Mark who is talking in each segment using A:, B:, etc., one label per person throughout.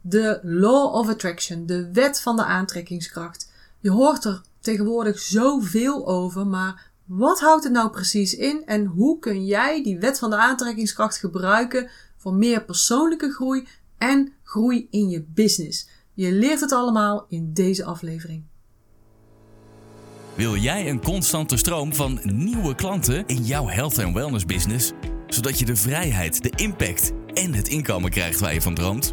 A: de law of attraction, de wet van de aantrekkingskracht. Je hoort er tegenwoordig zoveel over, maar wat houdt het nou precies in en hoe kun jij die wet van de aantrekkingskracht gebruiken voor meer persoonlijke groei en groei in je business? Je leert het allemaal in deze aflevering.
B: Wil jij een constante stroom van nieuwe klanten in jouw health en wellness business, zodat je de vrijheid, de impact en het inkomen krijgt waar je van droomt?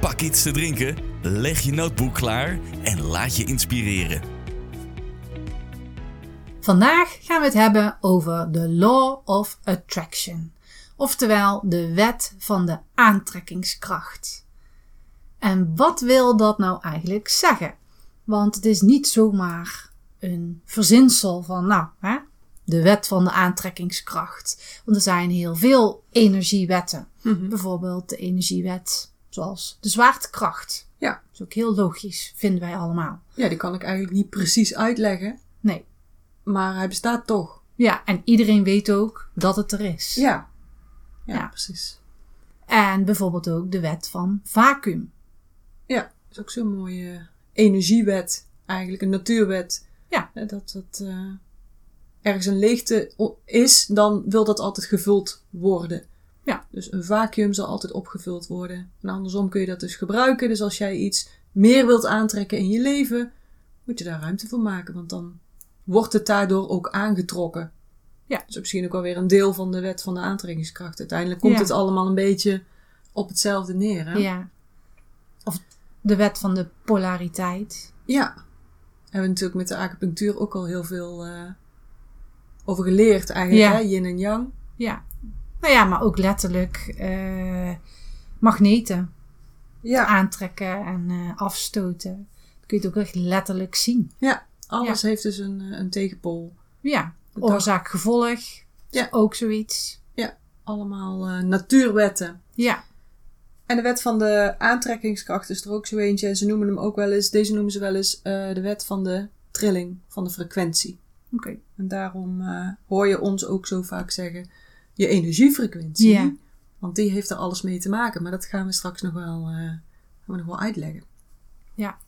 B: pak iets te drinken, leg je notebook klaar en laat je inspireren.
C: Vandaag gaan we het hebben over de Law of Attraction, oftewel de wet van de aantrekkingskracht. En wat wil dat nou eigenlijk zeggen? Want het is niet zomaar een verzinsel van, nou, hè, de wet van de aantrekkingskracht. Want er zijn heel veel energiewetten.
A: Mhm.
C: Bijvoorbeeld de energiewet, zoals de zwaartekracht.
A: Ja.
C: Dat is ook heel logisch, vinden wij allemaal.
A: Ja, die kan ik eigenlijk niet precies uitleggen,
C: Nee.
A: maar hij bestaat toch.
C: Ja, en iedereen weet ook dat het er is.
A: Ja. Ja,
C: Ja.
A: precies.
C: En bijvoorbeeld ook de wet van vacuüm.
A: Ja, dat is ook zo'n mooie energiewet, eigenlijk een natuurwet.
C: Ja.
A: Hè, Dat, dat eh, ergens een leegte o- is, dan wil dat altijd gevuld worden.
C: Ja.
A: Dus een vacuüm zal altijd opgevuld worden. En andersom kun je dat dus gebruiken. Dus als jij iets meer wilt aantrekken in je leven, moet je daar ruimte voor maken, want dan wordt het daardoor ook aangetrokken.
C: Ja.
A: Dat is misschien ook alweer een deel van de wet van de aantrekkingskracht. Uiteindelijk komt
C: Ja.
A: het allemaal een beetje op hetzelfde neer. Hè?
C: Ja.
A: Of-
C: de wet van de polariteit.
A: Ja. Hebben we natuurlijk met de acupunctuur ook al heel veel eh, over geleerd eigenlijk,
C: Ja.
A: hè? Yin en yang.
C: Ja. Nou ja, maar ook letterlijk eh, magneten
A: Ja.
C: aantrekken en eh, afstoten. Dan kun je het ook echt letterlijk zien.
A: Ja, alles heeft dus een, eh, een tegenpool.
C: Ja.
A: De dag-
C: Oorzaak-gevolg.
A: Ja.
C: Ook zoiets.
A: Allemaal eh, natuurwetten.
C: Ja.
A: En de wet van de aantrekkingskracht is er ook zo eentje. En ze noemen hem ook wel eens, deze noemen ze wel eens eh, de wet van de trilling, van de frequentie.
C: Oké.
A: En daarom eh, hoor je ons ook zo vaak zeggen, je energiefrequentie.
C: Ja.
A: Want die heeft er alles mee te maken. Maar dat gaan we straks nog wel, eh, gaan we nog wel uitleggen.
C: Ja.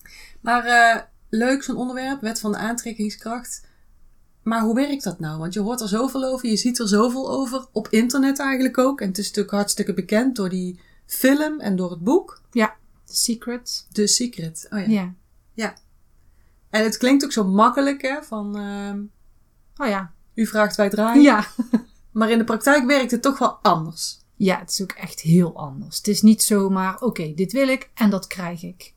A: Maar eh, leuk zo'n onderwerp, wet van de aantrekkingskracht. Maar hoe werkt dat nou? Want je hoort er zoveel over, je ziet er zoveel over. Op internet eigenlijk ook. En het is natuurlijk hartstikke bekend door die film en door het boek.
C: The secret.
A: The Secret. Oh ja.
C: Ja.
A: En het klinkt ook zo makkelijk hè, van ehm,
C: Oh ja.
A: u vraagt wij draaien.
C: Ja.
A: Maar in de praktijk werkt het toch wel anders.
C: Ja, het is ook echt heel anders. Het is niet zomaar, oké, dit wil ik en dat krijg ik.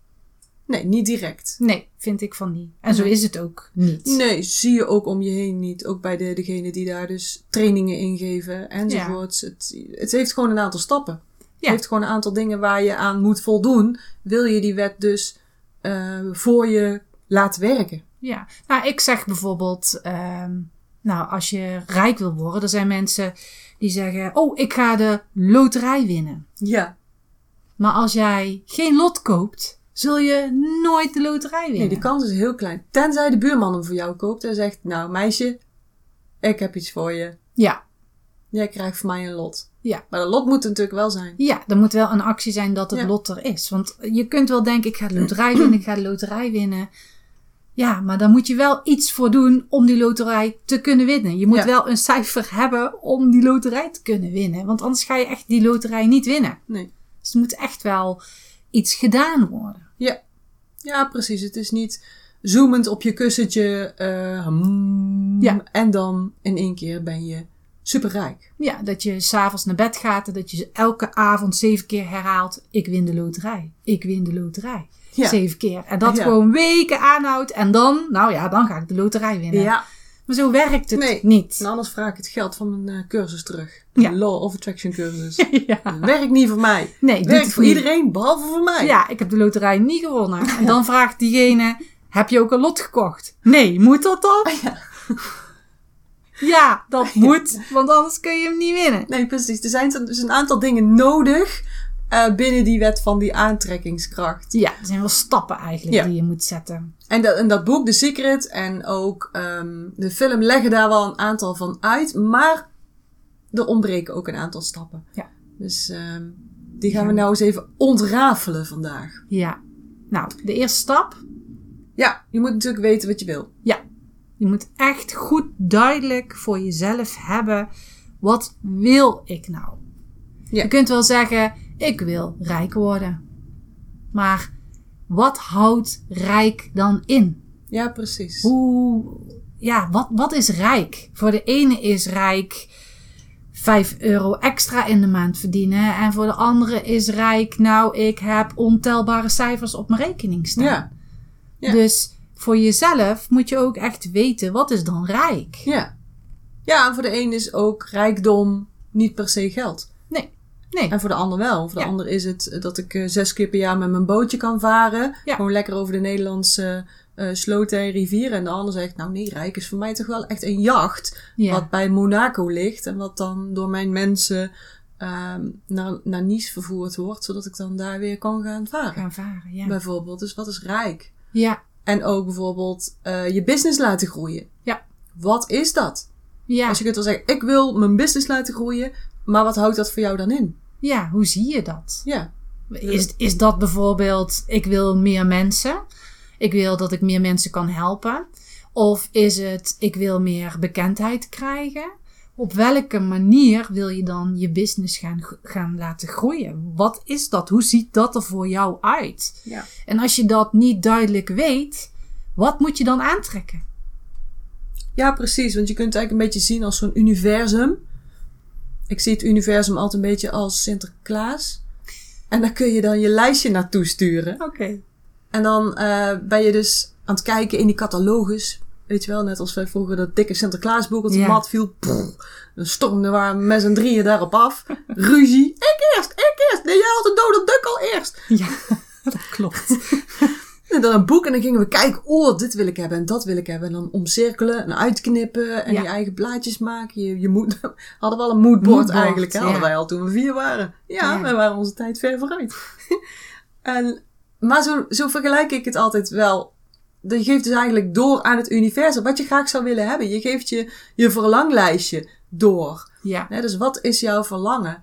A: Nee, niet direct.
C: Nee, vind ik van niet. En zo
A: Nee.
C: is het ook niet.
A: Mhm. Nee, zie je ook om je heen niet. Ook bij de, degenen die daar dus trainingen in geven enzovoorts. Het, het heeft gewoon een aantal stappen. Het
C: Ja.
A: heeft gewoon een aantal dingen waar je aan moet voldoen. Wil je die wet dus eh, voor je laten werken?
C: Ja, nou, ik zeg bijvoorbeeld, ehm, nou, als je rijk wil worden, er zijn mensen die zeggen, oh, ik ga de loterij winnen.
A: Ja.
C: Maar als jij geen lot koopt, zul je nooit de loterij winnen.
A: Nee, die kans is heel klein. Tenzij de buurman hem voor jou koopt en zegt: Nou, meisje, ik heb iets voor je.
C: Ja,
A: Jij krijgt van mij een lot.
C: Ja.
A: Maar dat lot moet er natuurlijk wel zijn.
C: ja, er moet wel een actie zijn dat het
A: Ja.
C: lot er is. Want je kunt wel denken, ik ga de loterij winnen, ik ga de loterij winnen. Ja, maar dan moet je wel iets voor doen om die loterij te kunnen winnen. Je moet
A: Ja.
C: wel een cijfer hebben om die loterij te kunnen winnen. Want anders ga je echt die loterij niet winnen.
A: Nee.
C: Dus er moet echt wel iets gedaan worden.
A: Ja. Ja, precies. Het is niet zoemend op je kussentje. eh, hmm,
C: Ja.
A: En dan in één keer ben je superrijk.
C: Ja, dat je s'avonds naar bed gaat en dat je elke avond zeven keer herhaalt: Ik win de loterij. Ik win de loterij.
A: Ja.
C: Zeven keer. En dat
A: Ja.
C: gewoon weken aanhoudt. En dan, nou ja, dan ga ik de loterij winnen.
A: Ja.
C: Maar Maar zo werkt het
A: Nee. Nou.
C: niet.
A: En anders vraag ik het geld van mijn eh, cursus terug.
C: Ja.
A: De Law of Attraction cursus.
C: ja.
A: Werkt niet voor mij.
C: Nee, doet
A: Werkt
C: het
A: voor
C: niet.
A: iedereen, behalve voor mij.
C: Ja, ik heb de loterij niet gewonnen. En dan vraagt diegene, heb je ook een lot gekocht? Nee, moet dat
A: Ah,
C: dan? Ja, dat moet, want anders kun je hem niet winnen.
A: Nee, precies. Er zijn dus een aantal dingen nodig eh, binnen die wet van die aantrekkingskracht.
C: Ja, er zijn wel stappen eigenlijk
A: Ja.
C: die je moet zetten.
A: En dat, en dat boek, The Secret, en ook ehm, de film leggen daar wel een aantal van uit. Maar er ontbreken ook een aantal stappen.
C: Ja.
A: Dus ehm, die gaan we nou eens even ontrafelen vandaag.
C: Ja, nou, de eerste stap.
A: Ja, je moet natuurlijk weten wat je wil.
C: Ja, je moet echt goed duidelijk voor jezelf hebben. Wat wil ik nou?
A: Ja.
C: Je kunt wel zeggen, ik wil rijk worden. Maar wat houdt rijk dan in?
A: Ja, precies.
C: Hoe, ja, wat, wat is rijk? Voor de ene is rijk 5 euro extra in de maand verdienen. En voor de andere is rijk, nou, ik heb ontelbare cijfers op mijn rekening staan.
A: Ja, ja.
C: Dus voor jezelf moet je ook echt weten, wat is dan rijk?
A: ja. Ja, en voor de een is ook rijkdom niet per se geld.
C: Nee, nee.
A: En voor de ander wel. Voor de
C: Ja.
A: ander is het eh, dat ik eh, zes keer per jaar met mijn bootje kan varen.
C: Ja.
A: Gewoon lekker over de Nederlandse eh sloten en rivieren. En de ander zegt, nou nee, rijk is voor mij toch wel echt een jacht.
C: Ja.
A: Wat bij Monaco ligt. En wat dan door mijn mensen ehm, naar, naar Nice vervoerd wordt. Zodat ik dan daar weer kan gaan varen.
C: Gaan varen, ja.
A: Bijvoorbeeld. Dus wat is rijk?
C: Ja,
A: En ook bijvoorbeeld eh, je business laten groeien.
C: ja,
A: Wat is dat?
C: ja,
A: Als je kunt wel zeggen, ik wil mijn business laten groeien. Maar wat houdt dat voor jou dan in?
C: ja. Hoe zie je dat?
A: Ja,
C: Is, is dat bijvoorbeeld, ik wil meer mensen. Ik wil dat ik meer mensen kan helpen. Of is het, ik wil meer bekendheid krijgen. Op welke manier wil je dan je business gaan, gro- gaan laten groeien? Wat is dat? Hoe ziet dat er voor jou uit?
A: ja.
C: En als je dat niet duidelijk weet, wat moet je dan aantrekken?
A: Ja, precies. Want je kunt het eigenlijk een beetje zien als zo'n universum. Ik zie het universum altijd een beetje als Sinterklaas. En daar kun je dan je lijstje naartoe sturen.
C: Oké.
A: En dan eh, ben je dus aan het kijken in die catalogus. Weet je wel, net als wij vroeger dat dikke Sinterklaasboek op de
C: Ja.
A: mat viel. Pff, dan stormden we met z'n drieën daarop af. Ruzie. Ik eerst, ik eerst. Nee, jij had een dode duk al eerst.
C: Ja, dat klopt.
A: En dan een boek en dan gingen we kijken, oh, dit wil ik hebben en dat wil ik hebben. En dan omcirkelen en uitknippen en
C: Ja.
A: je eigen blaadjes maken. Je, je mood, hadden we al een moodboard
C: Moodboard,
A: eigenlijk, hè? hadden
C: ja.
A: wij al toen we vier waren. Ja,
C: Ja.
A: wij waren onze tijd ver vooruit. en, maar zo, zo vergelijk ik het altijd wel. Je geeft dus eigenlijk door aan het universum wat je graag zou willen hebben. Je geeft je, je verlanglijstje door.
C: Ja,
A: Hè, dus wat is jouw verlangen?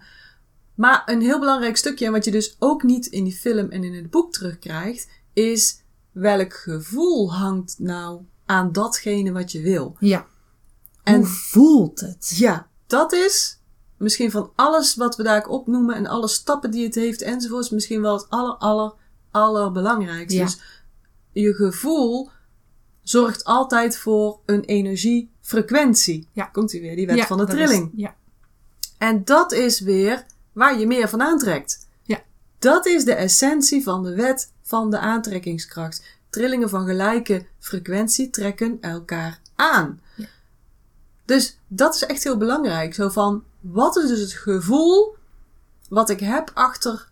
A: Maar een heel belangrijk stukje, en wat je dus ook niet in die film en in het boek terugkrijgt, is welk gevoel hangt nou aan datgene wat je wil?
C: ja.
A: En-
C: Hoe voelt het?
A: Ja, dat is misschien van alles wat we daar opnoemen en alle stappen die het heeft enzovoorts, misschien wel het aller, aller, allerbelangrijkste.
C: Ja.
A: Dus je gevoel zorgt altijd voor een energiefrequentie.
C: Ja.
A: Komt u weer, die wet
C: Ja,
A: van de
C: dat
A: trilling.
C: is- ja,
A: En dat is weer waar je meer van aantrekt.
C: Ja.
A: Dat is de essentie van de wet van de aantrekkingskracht. Trillingen van gelijke frequentie trekken elkaar aan.
C: Ja.
A: Dus dat is echt heel belangrijk. Zo van, wat is dus het gevoel wat ik heb achter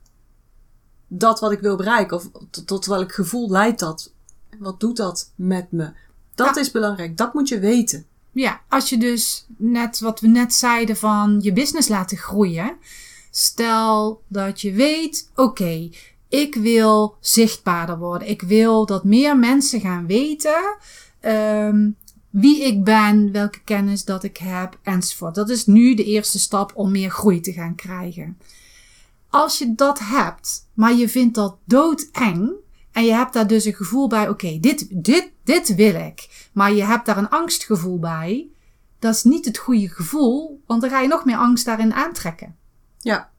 A: dat wat ik wil bereiken? Of tot, tot welk gevoel leidt dat? Wat doet dat met me? Dat
C: Ja.
A: is belangrijk. Dat moet je weten.
C: Ja, als je dus net wat we net zeiden van je business laten groeien. Stel dat je weet, oké, ik wil zichtbaarder worden. Ik wil dat meer mensen gaan weten ehm, wie ik ben, welke kennis dat ik heb enzovoort. Dat is nu de eerste stap om meer groei te gaan krijgen. Als je dat hebt, maar je vindt dat doodeng en je hebt daar dus een gevoel bij, oké, dit, dit, dit wil ik. Maar je hebt daar een angstgevoel bij. Dat is niet het goede gevoel, want dan ga je nog meer angst daarin aantrekken.
A: Ja,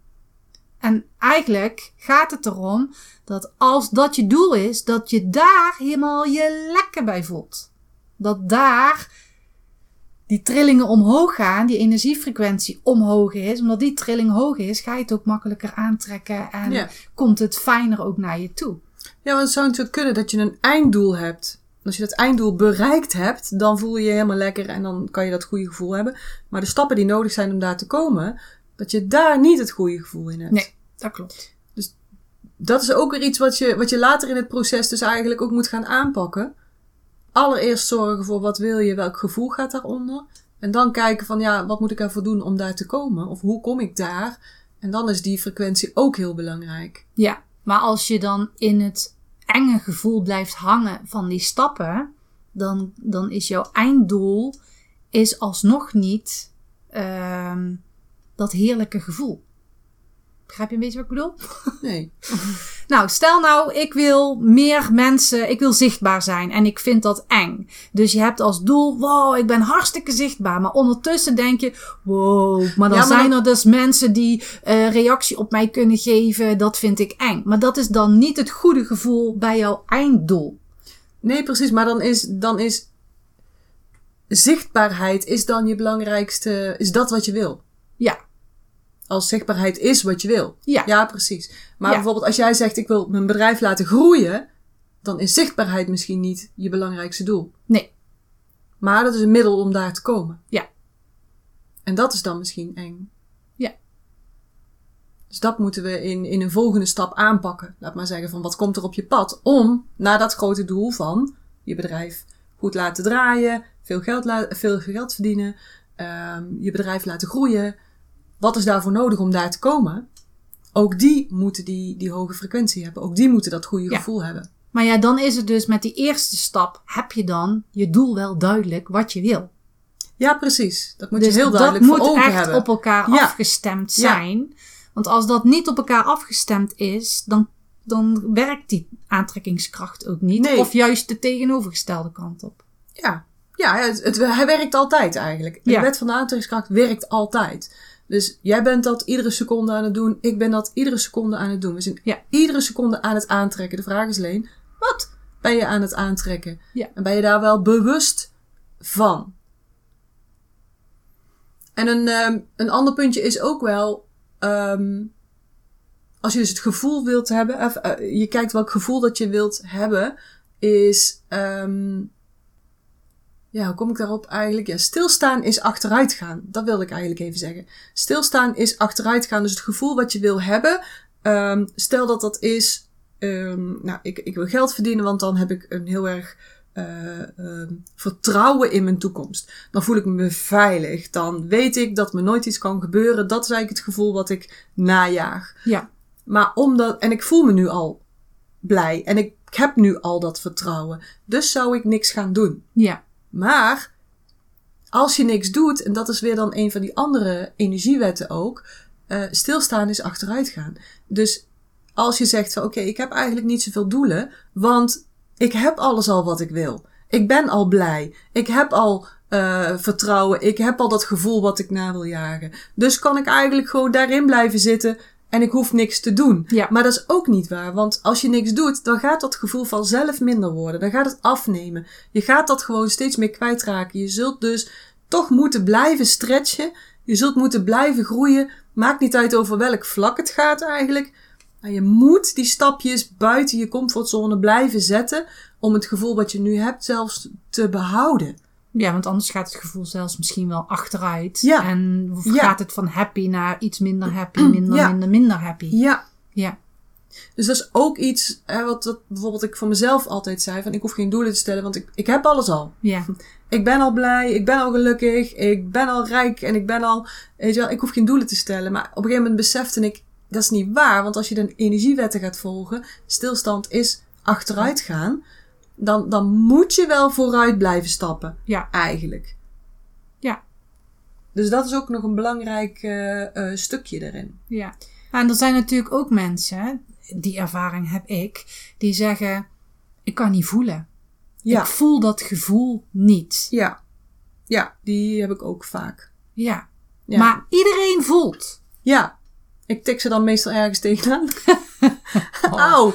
C: En eigenlijk gaat het erom dat als dat je doel is, dat je daar helemaal je lekker bij voelt. Dat daar die trillingen omhoog gaan, die energiefrequentie omhoog is. Omdat die trilling hoog is, ga je het ook makkelijker aantrekken en
A: Ja.
C: komt het fijner ook naar je toe.
A: Ja, want het zou natuurlijk kunnen dat je een einddoel hebt. als je dat einddoel bereikt hebt, dan voel je je helemaal lekker en dan kan je dat goede gevoel hebben. Maar de stappen die nodig zijn om daar te komen, dat je daar niet het goede gevoel in hebt.
C: Nee, dat klopt.
A: Dat is ook weer iets wat je, wat je later in het proces dus eigenlijk ook moet gaan aanpakken. Allereerst zorgen voor wat wil je, welk gevoel gaat daaronder. En dan kijken van ja, wat moet ik ervoor doen om daar te komen? Of hoe kom ik daar? En dan is die frequentie ook heel belangrijk.
C: Ja, maar als je dan in het enge gevoel blijft hangen van die stappen, dan, dan is jouw einddoel is alsnog niet ehm, dat heerlijke gevoel. Begrijp je een beetje wat ik bedoel?
A: Nee.
C: Nou, stel nou, ik wil meer mensen, ik wil zichtbaar zijn en ik vind dat eng. Dus je hebt als doel, wow, ik ben hartstikke zichtbaar. Maar ondertussen denk je, wow, maar dan
A: Ja, maar
C: zijn
A: dan-
C: er dus mensen die eh, reactie op mij kunnen geven. Dat vind ik eng. Maar dat is dan niet het goede gevoel bij jouw einddoel.
A: Nee, precies. Maar dan is, dan is zichtbaarheid is dan je belangrijkste, is dat wat je wil.
C: Ja,
A: Als zichtbaarheid is wat je wil.
C: ja, ja.
A: Ja, precies. Maar
C: Ja.
A: bijvoorbeeld als jij zegt ik wil mijn bedrijf laten groeien, dan is zichtbaarheid misschien niet je belangrijkste doel.
C: Nee.
A: Maar dat is een middel om daar te komen.
C: Ja.
A: En dat is dan misschien eng.
C: Ja.
A: Dus dat moeten we in, in een volgende stap aanpakken. Laat maar zeggen van wat komt er op je pad om naar dat grote doel van je bedrijf goed laten draaien, veel geld, la- veel geld verdienen, ehm, je bedrijf laten groeien. Wat is daarvoor nodig om daar te komen? Ook die moeten die, die hoge frequentie hebben. Ook die moeten dat goede
C: Ja.
A: gevoel hebben.
C: Maar ja, dan is het dus met die eerste stap, heb je dan je doel wel duidelijk wat je wil.
A: Ja, precies. Dat moet
C: dus
A: je heel duidelijk
C: dat
A: voor
C: moet
A: ogen
C: echt
A: hebben.
C: op elkaar
A: Ja.
C: afgestemd
A: Ja.
C: zijn. Want als dat niet op elkaar afgestemd is, dan, dan werkt die aantrekkingskracht ook niet.
A: Nee.
C: Of juist de tegenovergestelde kant op.
A: Ja, ja het, het- hij werkt altijd eigenlijk. De
C: Ja.
A: wet van de aantrekkingskracht werkt altijd. Dus jij bent dat iedere seconde aan het doen. Ik ben dat iedere seconde aan het doen. We zijn
C: Ja.
A: iedere seconde aan het aantrekken. De vraag is alleen, wat ben je aan het aantrekken?
C: Ja.
A: En ben je daar wel bewust van? En een, ehm, een ander puntje is ook wel... ehm, als je dus het gevoel wilt hebben... Of, eh, je kijkt welk gevoel dat je wilt hebben... Is... ehm, ja, hoe kom ik daarop eigenlijk? Ja, stilstaan is achteruitgaan. Dat wilde ik eigenlijk even zeggen. Stilstaan is achteruitgaan. Dus het gevoel wat je wil hebben. ehm, stel dat dat is, ehm, nou, ik, ik wil geld verdienen, want dan heb ik een heel erg eh, ehm, vertrouwen in mijn toekomst. Dan voel ik me veilig. Dan weet ik dat me nooit iets kan gebeuren. Dat is eigenlijk het gevoel wat ik najaag.
C: Ja,
A: Maar omdat, en ik voel me nu al blij. En ik heb nu al dat vertrouwen. Dus zou ik niks gaan doen.
C: ja,
A: Maar als je niks doet, en dat is weer dan een van die andere energiewetten ook, eh, stilstaan is achteruitgaan. Dus als je zegt van oké, ik heb eigenlijk niet zoveel doelen, want ik heb alles al wat ik wil. Ik ben al blij. Ik heb al eh, vertrouwen. Ik heb al dat gevoel wat ik na wil jagen. Dus kan ik eigenlijk gewoon daarin blijven zitten en ik hoef niks te doen.
C: ja.
A: Maar dat is ook niet waar, want als je niks doet, dan gaat dat gevoel vanzelf minder worden. Dan gaat het afnemen. Je gaat dat gewoon steeds meer kwijtraken. Je zult dus toch moeten blijven stretchen. Je zult moeten blijven groeien. Maakt niet uit over welk vlak het gaat eigenlijk. Maar je moet die stapjes buiten je comfortzone blijven zetten om het gevoel wat je nu hebt zelfs te behouden.
C: ja, want anders gaat het gevoel zelfs misschien wel achteruit.
A: Ja.
C: En of
A: Ja.
C: gaat het van happy naar iets minder happy, minder,
A: Ja.
C: minder, minder happy.
A: Ja,
C: Ja,
A: Dus dat is ook iets hè, wat, wat bijvoorbeeld ik voor mezelf altijd zei: van ik hoef geen doelen te stellen, want ik, ik heb alles al.
C: ja,
A: Ik ben al blij, ik ben al gelukkig, ik ben al rijk en ik ben al. Weet je wel, ik hoef geen doelen te stellen. Maar op een gegeven moment besefte ik, dat is niet waar. Want als je de energiewetten gaat volgen, stilstand is achteruit gaan. Dan, dan moet je wel vooruit blijven stappen,
C: ja,
A: eigenlijk.
C: Ja.
A: Dus dat is ook nog een belangrijk eh, eh, stukje erin.
C: ja. En er zijn natuurlijk ook mensen, die ervaring heb ik, die zeggen, ik kan niet voelen.
A: Ja,
C: Ik voel dat gevoel niet.
A: ja. Ja, die heb ik ook vaak.
C: Ja.
A: Ja.
C: Maar iedereen voelt.
A: Ja, ik tik ze dan meestal ergens tegenaan. Auw!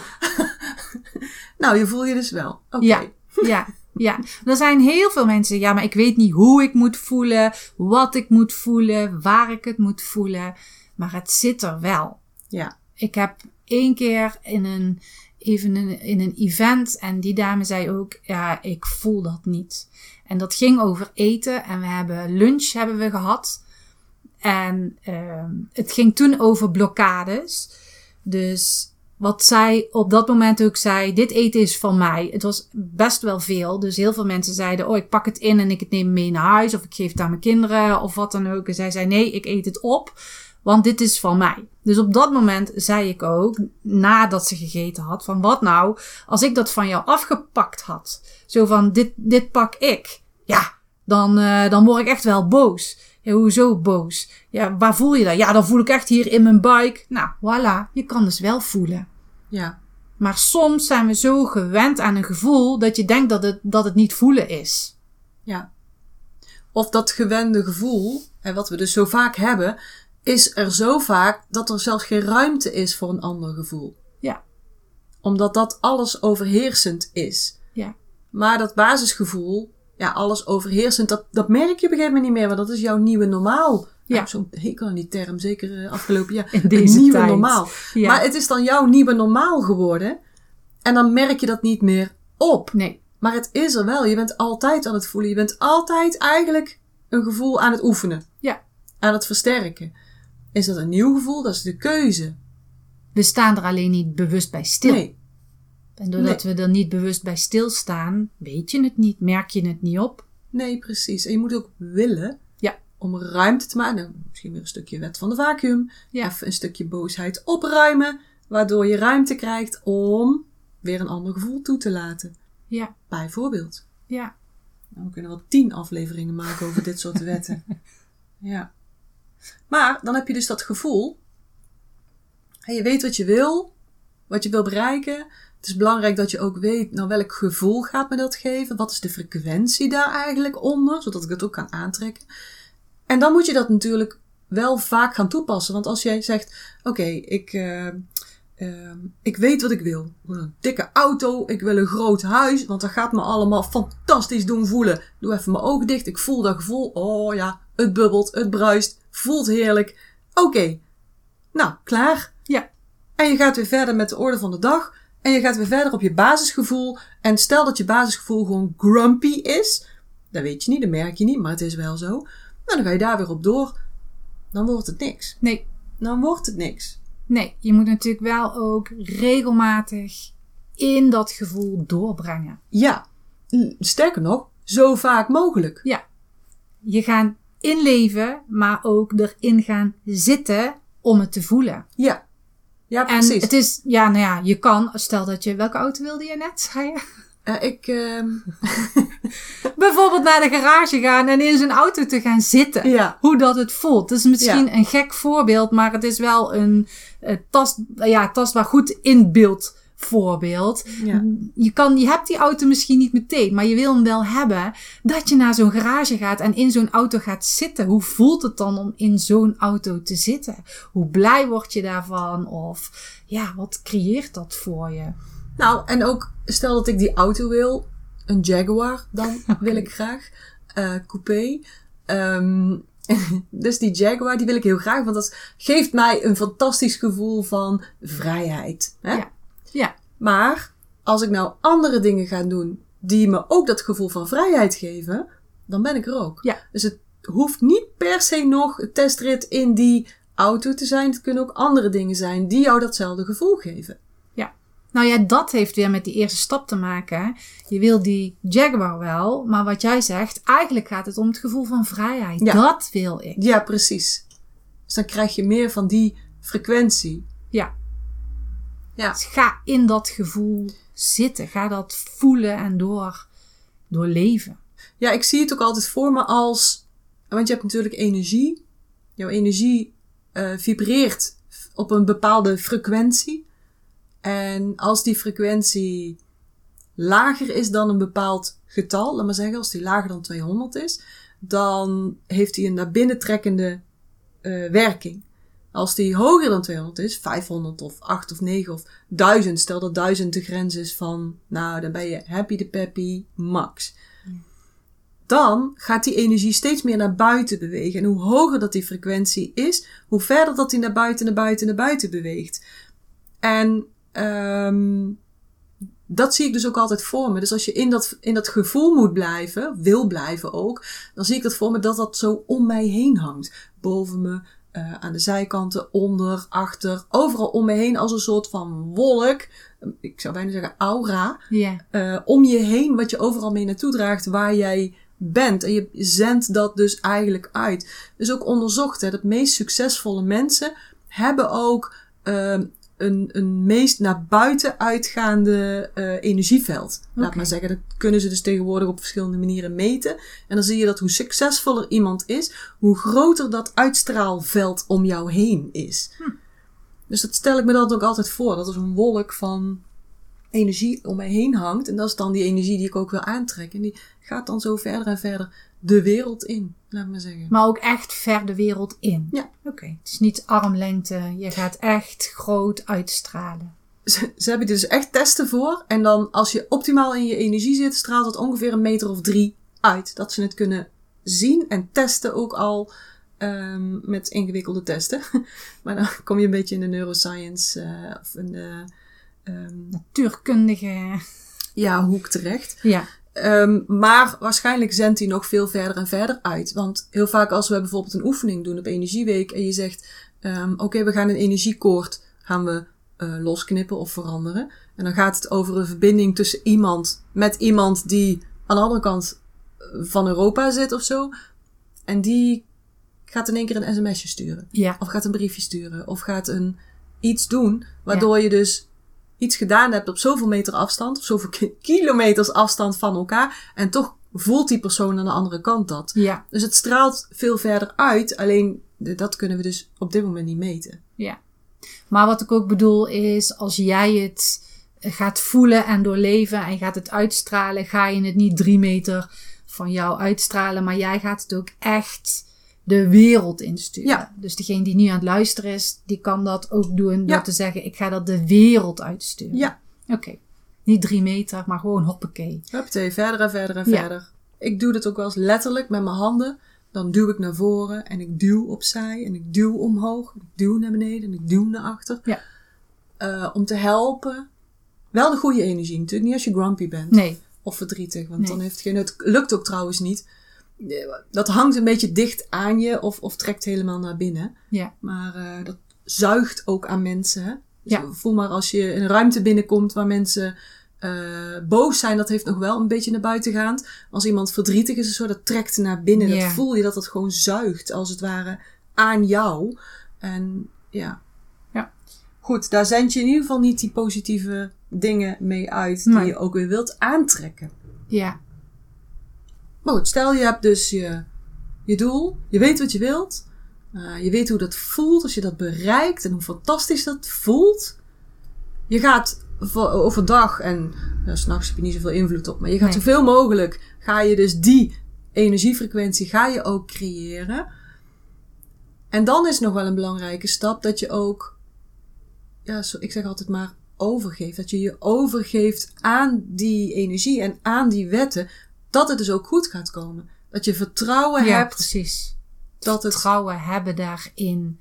A: nou, je voel je dus wel. Oké.
C: Ja. Ja. Ja. Er zijn heel veel mensen. Ja, maar ik weet niet hoe ik moet voelen. Wat ik moet voelen. Waar ik het moet voelen. Maar het zit er wel.
A: Ja.
C: Ik heb één keer in een even in, in een event en die dame zei ook, ja, ik voel dat niet. En dat ging over eten en we hebben lunch hebben we gehad. En ehm, het ging toen over blokkades. Dus wat zij op dat moment ook zei, dit eten is van mij. Het was best wel veel. Dus heel veel mensen zeiden, oh ik pak het in en ik het neem mee naar huis. Of ik geef het aan mijn kinderen of wat dan ook. En zij zei, nee, ik eet het op. Want dit is van mij. Dus op dat moment zei ik ook, nadat ze gegeten had, van wat nou als ik dat van jou afgepakt had? Zo van, dit, dit pak ik. Ja, dan, eh, dan word ik echt wel boos. Ja, hoezo boos? Ja, waar voel je dat? Ja, dan voel ik echt hier in mijn buik. Nou, voilà, je kan dus wel voelen.
A: Ja,
C: Maar soms zijn we zo gewend aan een gevoel dat je denkt dat het, dat het niet voelen is.
A: ja. Of dat gewende gevoel, en wat we dus zo vaak hebben, is er zo vaak dat er zelfs geen ruimte is voor een ander gevoel.
C: Ja,
A: Omdat dat alles overheersend is.
C: ja,
A: Maar dat basisgevoel, ja, alles overheersend, dat, dat merk je op een gegeven moment niet meer, want dat is jouw nieuwe normaal.
C: Ja.
A: Ja. Zo'n hekel aan die term, zeker eh, afgelopen jaar.
C: In
A: Een
C: deze
A: nieuwe
C: tijd.
A: normaal.
C: Ja.
A: Maar het is dan jouw nieuwe normaal geworden. En dan merk je dat niet meer op.
C: nee.
A: Maar het is er wel. Je bent altijd aan het voelen. Je bent altijd eigenlijk een gevoel aan het oefenen.
C: Ja.
A: Aan het versterken. Is dat een nieuw gevoel? Dat is de keuze.
C: We staan er alleen niet bewust bij stil.
A: Nee.
C: En doordat we er niet bewust bij stilstaan, weet je het niet, merk je het niet op.
A: Nee, precies. En je moet ook willen
C: Ja.
A: om ruimte te maken. Nou, misschien weer een stukje wet van de vacuüm.
C: Ja.
A: Of een stukje boosheid opruimen. Waardoor je ruimte krijgt om weer een ander gevoel toe te laten.
C: Ja,
A: Bijvoorbeeld.
C: ja.
A: Nou, we kunnen wel tien afleveringen maken over dit soort wetten. Ja. Maar dan heb je dus dat gevoel. En je weet wat je wil. Wat je wil bereiken. Het is belangrijk dat je ook weet nou, welk gevoel gaat me dat geven. Wat is de frequentie daar eigenlijk onder. Zodat ik het ook kan aantrekken. En dan moet je dat natuurlijk wel vaak gaan toepassen. Want als jij zegt, oké, ik... eh, Ehm, ik weet wat ik wil. Ik wil een dikke auto. Ik wil een groot huis. Want dat gaat me allemaal fantastisch doen voelen. Doe even mijn ogen dicht. Ik voel dat gevoel. Oh ja, het bubbelt. Het bruist. Voelt heerlijk. Oké. Nou, klaar.
C: Ja.
A: En je gaat weer verder met de orde van de dag. En je gaat weer verder op je basisgevoel. En stel dat je basisgevoel gewoon grumpy is. Dat weet je niet, dat merk je niet, maar het is wel zo. Nou, dan ga je daar weer op door. Dan wordt het niks.
C: Nee,
A: Dan wordt het niks.
C: nee. Je moet natuurlijk wel ook regelmatig in dat gevoel doorbrengen.
A: Ja, l- sterker nog, zo vaak mogelijk.
C: Ja. Je gaan inleven, maar ook erin gaan zitten om het te voelen.
A: Ja, ja
C: En
A: precies.
C: het is, ja, nou ja, je kan, stel dat je, welke auto wilde je net? zei je?
A: Eh, ik, ehm,
C: Bijvoorbeeld naar de garage gaan en in zijn auto te gaan zitten.
A: ja,
C: hoe dat het voelt. Het is misschien een gek voorbeeld, maar het is wel een eh, tast, ja, tastbaar goed inbeeld voorbeeld.
A: Ja.
C: Je, kan, je hebt die auto misschien niet meteen, maar je wil hem wel hebben. Dat je naar zo'n garage gaat en in zo'n auto gaat zitten. Hoe voelt het dan om in zo'n auto te zitten? Hoe blij word je daarvan? Of ja, wat creëert dat voor je?
A: nou en ook stel dat ik die auto wil, een Jaguar, dan wil ik graag, eh, coupé. Ehm, dus die Jaguar, die wil ik heel graag, want dat geeft mij een fantastisch gevoel van vrijheid. Hè?
C: Ja. Ja,
A: Maar als ik nou andere dingen ga doen die me ook dat gevoel van vrijheid geven, dan ben ik er ook.
C: Ja.
A: Dus het hoeft niet per se nog een testrit in die auto te zijn. Het kunnen ook andere dingen zijn die jou datzelfde gevoel geven.
C: Ja. Nou ja, dat heeft weer met die eerste stap te maken. Je wil die Jaguar wel, maar wat jij zegt, eigenlijk gaat het om het gevoel van vrijheid.
A: Ja.
C: Dat wil ik.
A: Ja, precies. Dus dan krijg je meer van die frequentie.
C: Ja.
A: Ja.
C: Dus ga in dat gevoel zitten. Ga dat voelen en door, doorleven.
A: Ja, ik zie het ook altijd voor me als. Want je hebt natuurlijk energie. Jouw energie eh, vibreert f- op een bepaalde frequentie. En als die frequentie lager is dan een bepaald getal, laat maar zeggen, als die lager dan 200 is, dan heeft die een naar binnen trekkende eh, werking. Als die hoger dan 200 is, 500 of 8 of 9 of 1000, stel dat 1000 de grens is van, nou dan ben je happy de peppy max dan gaat die energie steeds meer naar buiten bewegen. En hoe hoger dat die frequentie is, hoe verder dat die naar buiten, naar buiten, naar buiten beweegt. En ehm, dat zie ik dus ook altijd voor me. Dus als je in dat, in dat gevoel moet blijven, wil blijven ook, dan zie ik dat voor me dat dat zo om mij heen hangt. Boven me, eh, aan de zijkanten, onder, achter, overal om me heen als een soort van wolk. Ik zou bijna zeggen aura.
C: Ja.
A: eh, om je heen, wat je overal mee naartoe draagt, waar jij bent. En je zendt dat dus eigenlijk uit. Dus ook onderzocht, hè, dat meest succesvolle mensen hebben ook ehm, een, een meest naar buiten uitgaande eh, energieveld. Laat
C: Oké.
A: maar zeggen, dat kunnen ze dus tegenwoordig op verschillende manieren meten. En dan zie je dat hoe succesvoller iemand is, hoe groter dat uitstraalveld om jou heen is. Dus dat stel ik me dan ook altijd voor. Dat is een wolk van energie om mij heen hangt. En dat is dan die energie die ik ook wil aantrekken. En die gaat dan zo verder en verder de wereld in, laat maar zeggen.
C: Maar ook echt ver de wereld in.
A: Ja.
C: Oké. Het is niet armlengte. Je gaat echt groot uitstralen.
A: Ze, ze hebben er dus echt testen voor. En dan als je optimaal in je energie zit, straalt dat ongeveer een meter of drie uit. Dat ze het kunnen zien en testen ook al ehm, met ingewikkelde testen. maar dan kom je een beetje in de neuroscience eh, of in de ehm,
C: Natuurkundige.
A: ja, hoek terecht.
C: Ja.
A: Ehm, maar waarschijnlijk zendt hij nog veel verder en verder uit. Want heel vaak als we bijvoorbeeld een oefening doen op Energieweek en je zegt, ehm, oké, we gaan een energiekoord gaan we eh, losknippen of veranderen. En dan gaat het over een verbinding tussen iemand met iemand die aan de andere kant eh, van Europa zit of zo. En die gaat in één keer een sms'je sturen.
C: Ja.
A: Of gaat een briefje sturen. Of gaat een iets doen. Waardoor je dus iets gedaan hebt op zoveel meter afstand. Of zoveel ki- kilometers afstand van elkaar. En toch voelt die persoon aan de andere kant dat.
C: Ja.
A: Dus het straalt veel verder uit. Alleen eh, dat kunnen we dus op dit moment niet meten.
C: Maar wat ik ook bedoel is, als jij het eh, gaat voelen en doorleven en gaat het uitstralen, ga je het niet drie meter van jou uitstralen, maar jij gaat het ook echt de wereld insturen.
A: Ja.
C: Dus degene die nu aan het luisteren is, die kan dat ook doen door
A: Ja.
C: te zeggen, ik ga dat de wereld uitsturen.
A: Ja.
C: Oké. Niet drie meter, maar gewoon hoppakee.
A: Huppatee, verder en verder en
C: Ja.
A: verder. Ik doe dat ook wel eens letterlijk met mijn handen. Dan duw ik naar voren en ik duw opzij en ik duw omhoog. Ik duw naar beneden en ik duw naar achter.
C: Ja.
A: Eh, om te helpen. Wel de goede energie natuurlijk. Niet als je grumpy bent
C: Nee.
A: of verdrietig. Want
C: Nee.
A: dan heeft geen... Het lukt ook trouwens niet. Eh, Dat hangt een beetje dicht aan je of, of trekt helemaal naar binnen.
C: Ja.
A: Maar eh, dat zuigt ook aan mensen. hè. Dus
C: Ja.
A: Voel maar als je in een ruimte binnenkomt waar mensen eh, boos zijn, dat heeft nog wel een beetje naar buiten gaand. Als iemand verdrietig is, of zo, dat trekt naar binnen.
C: Ja.
A: Dat voel je dat dat gewoon zuigt, als het ware, aan jou. En ja.
C: Ja.
A: Goed, daar zend je in ieder geval niet die positieve dingen mee uit die
C: Nee.
A: je ook weer wilt aantrekken.
C: Ja.
A: Maar goed, Oh, stel je hebt dus je, je doel, je weet wat je wilt, eh, je weet hoe dat voelt als je dat bereikt en hoe fantastisch dat voelt. Je gaat vo- overdag en nou, s'nachts heb je niet zoveel invloed op, maar je gaat
C: Nee.
A: zoveel mogelijk, ga je dus die energiefrequentie ga je ook creëren. En dan is nog wel een belangrijke stap dat je ook, ja, zo, ik zeg altijd maar overgeeft. Dat je je overgeeft aan die energie en aan die wetten dat het dus ook goed gaat komen. Dat je vertrouwen
C: Ja,
A: hebt
C: precies.
A: dat het
C: Vertrouwen hebben daarin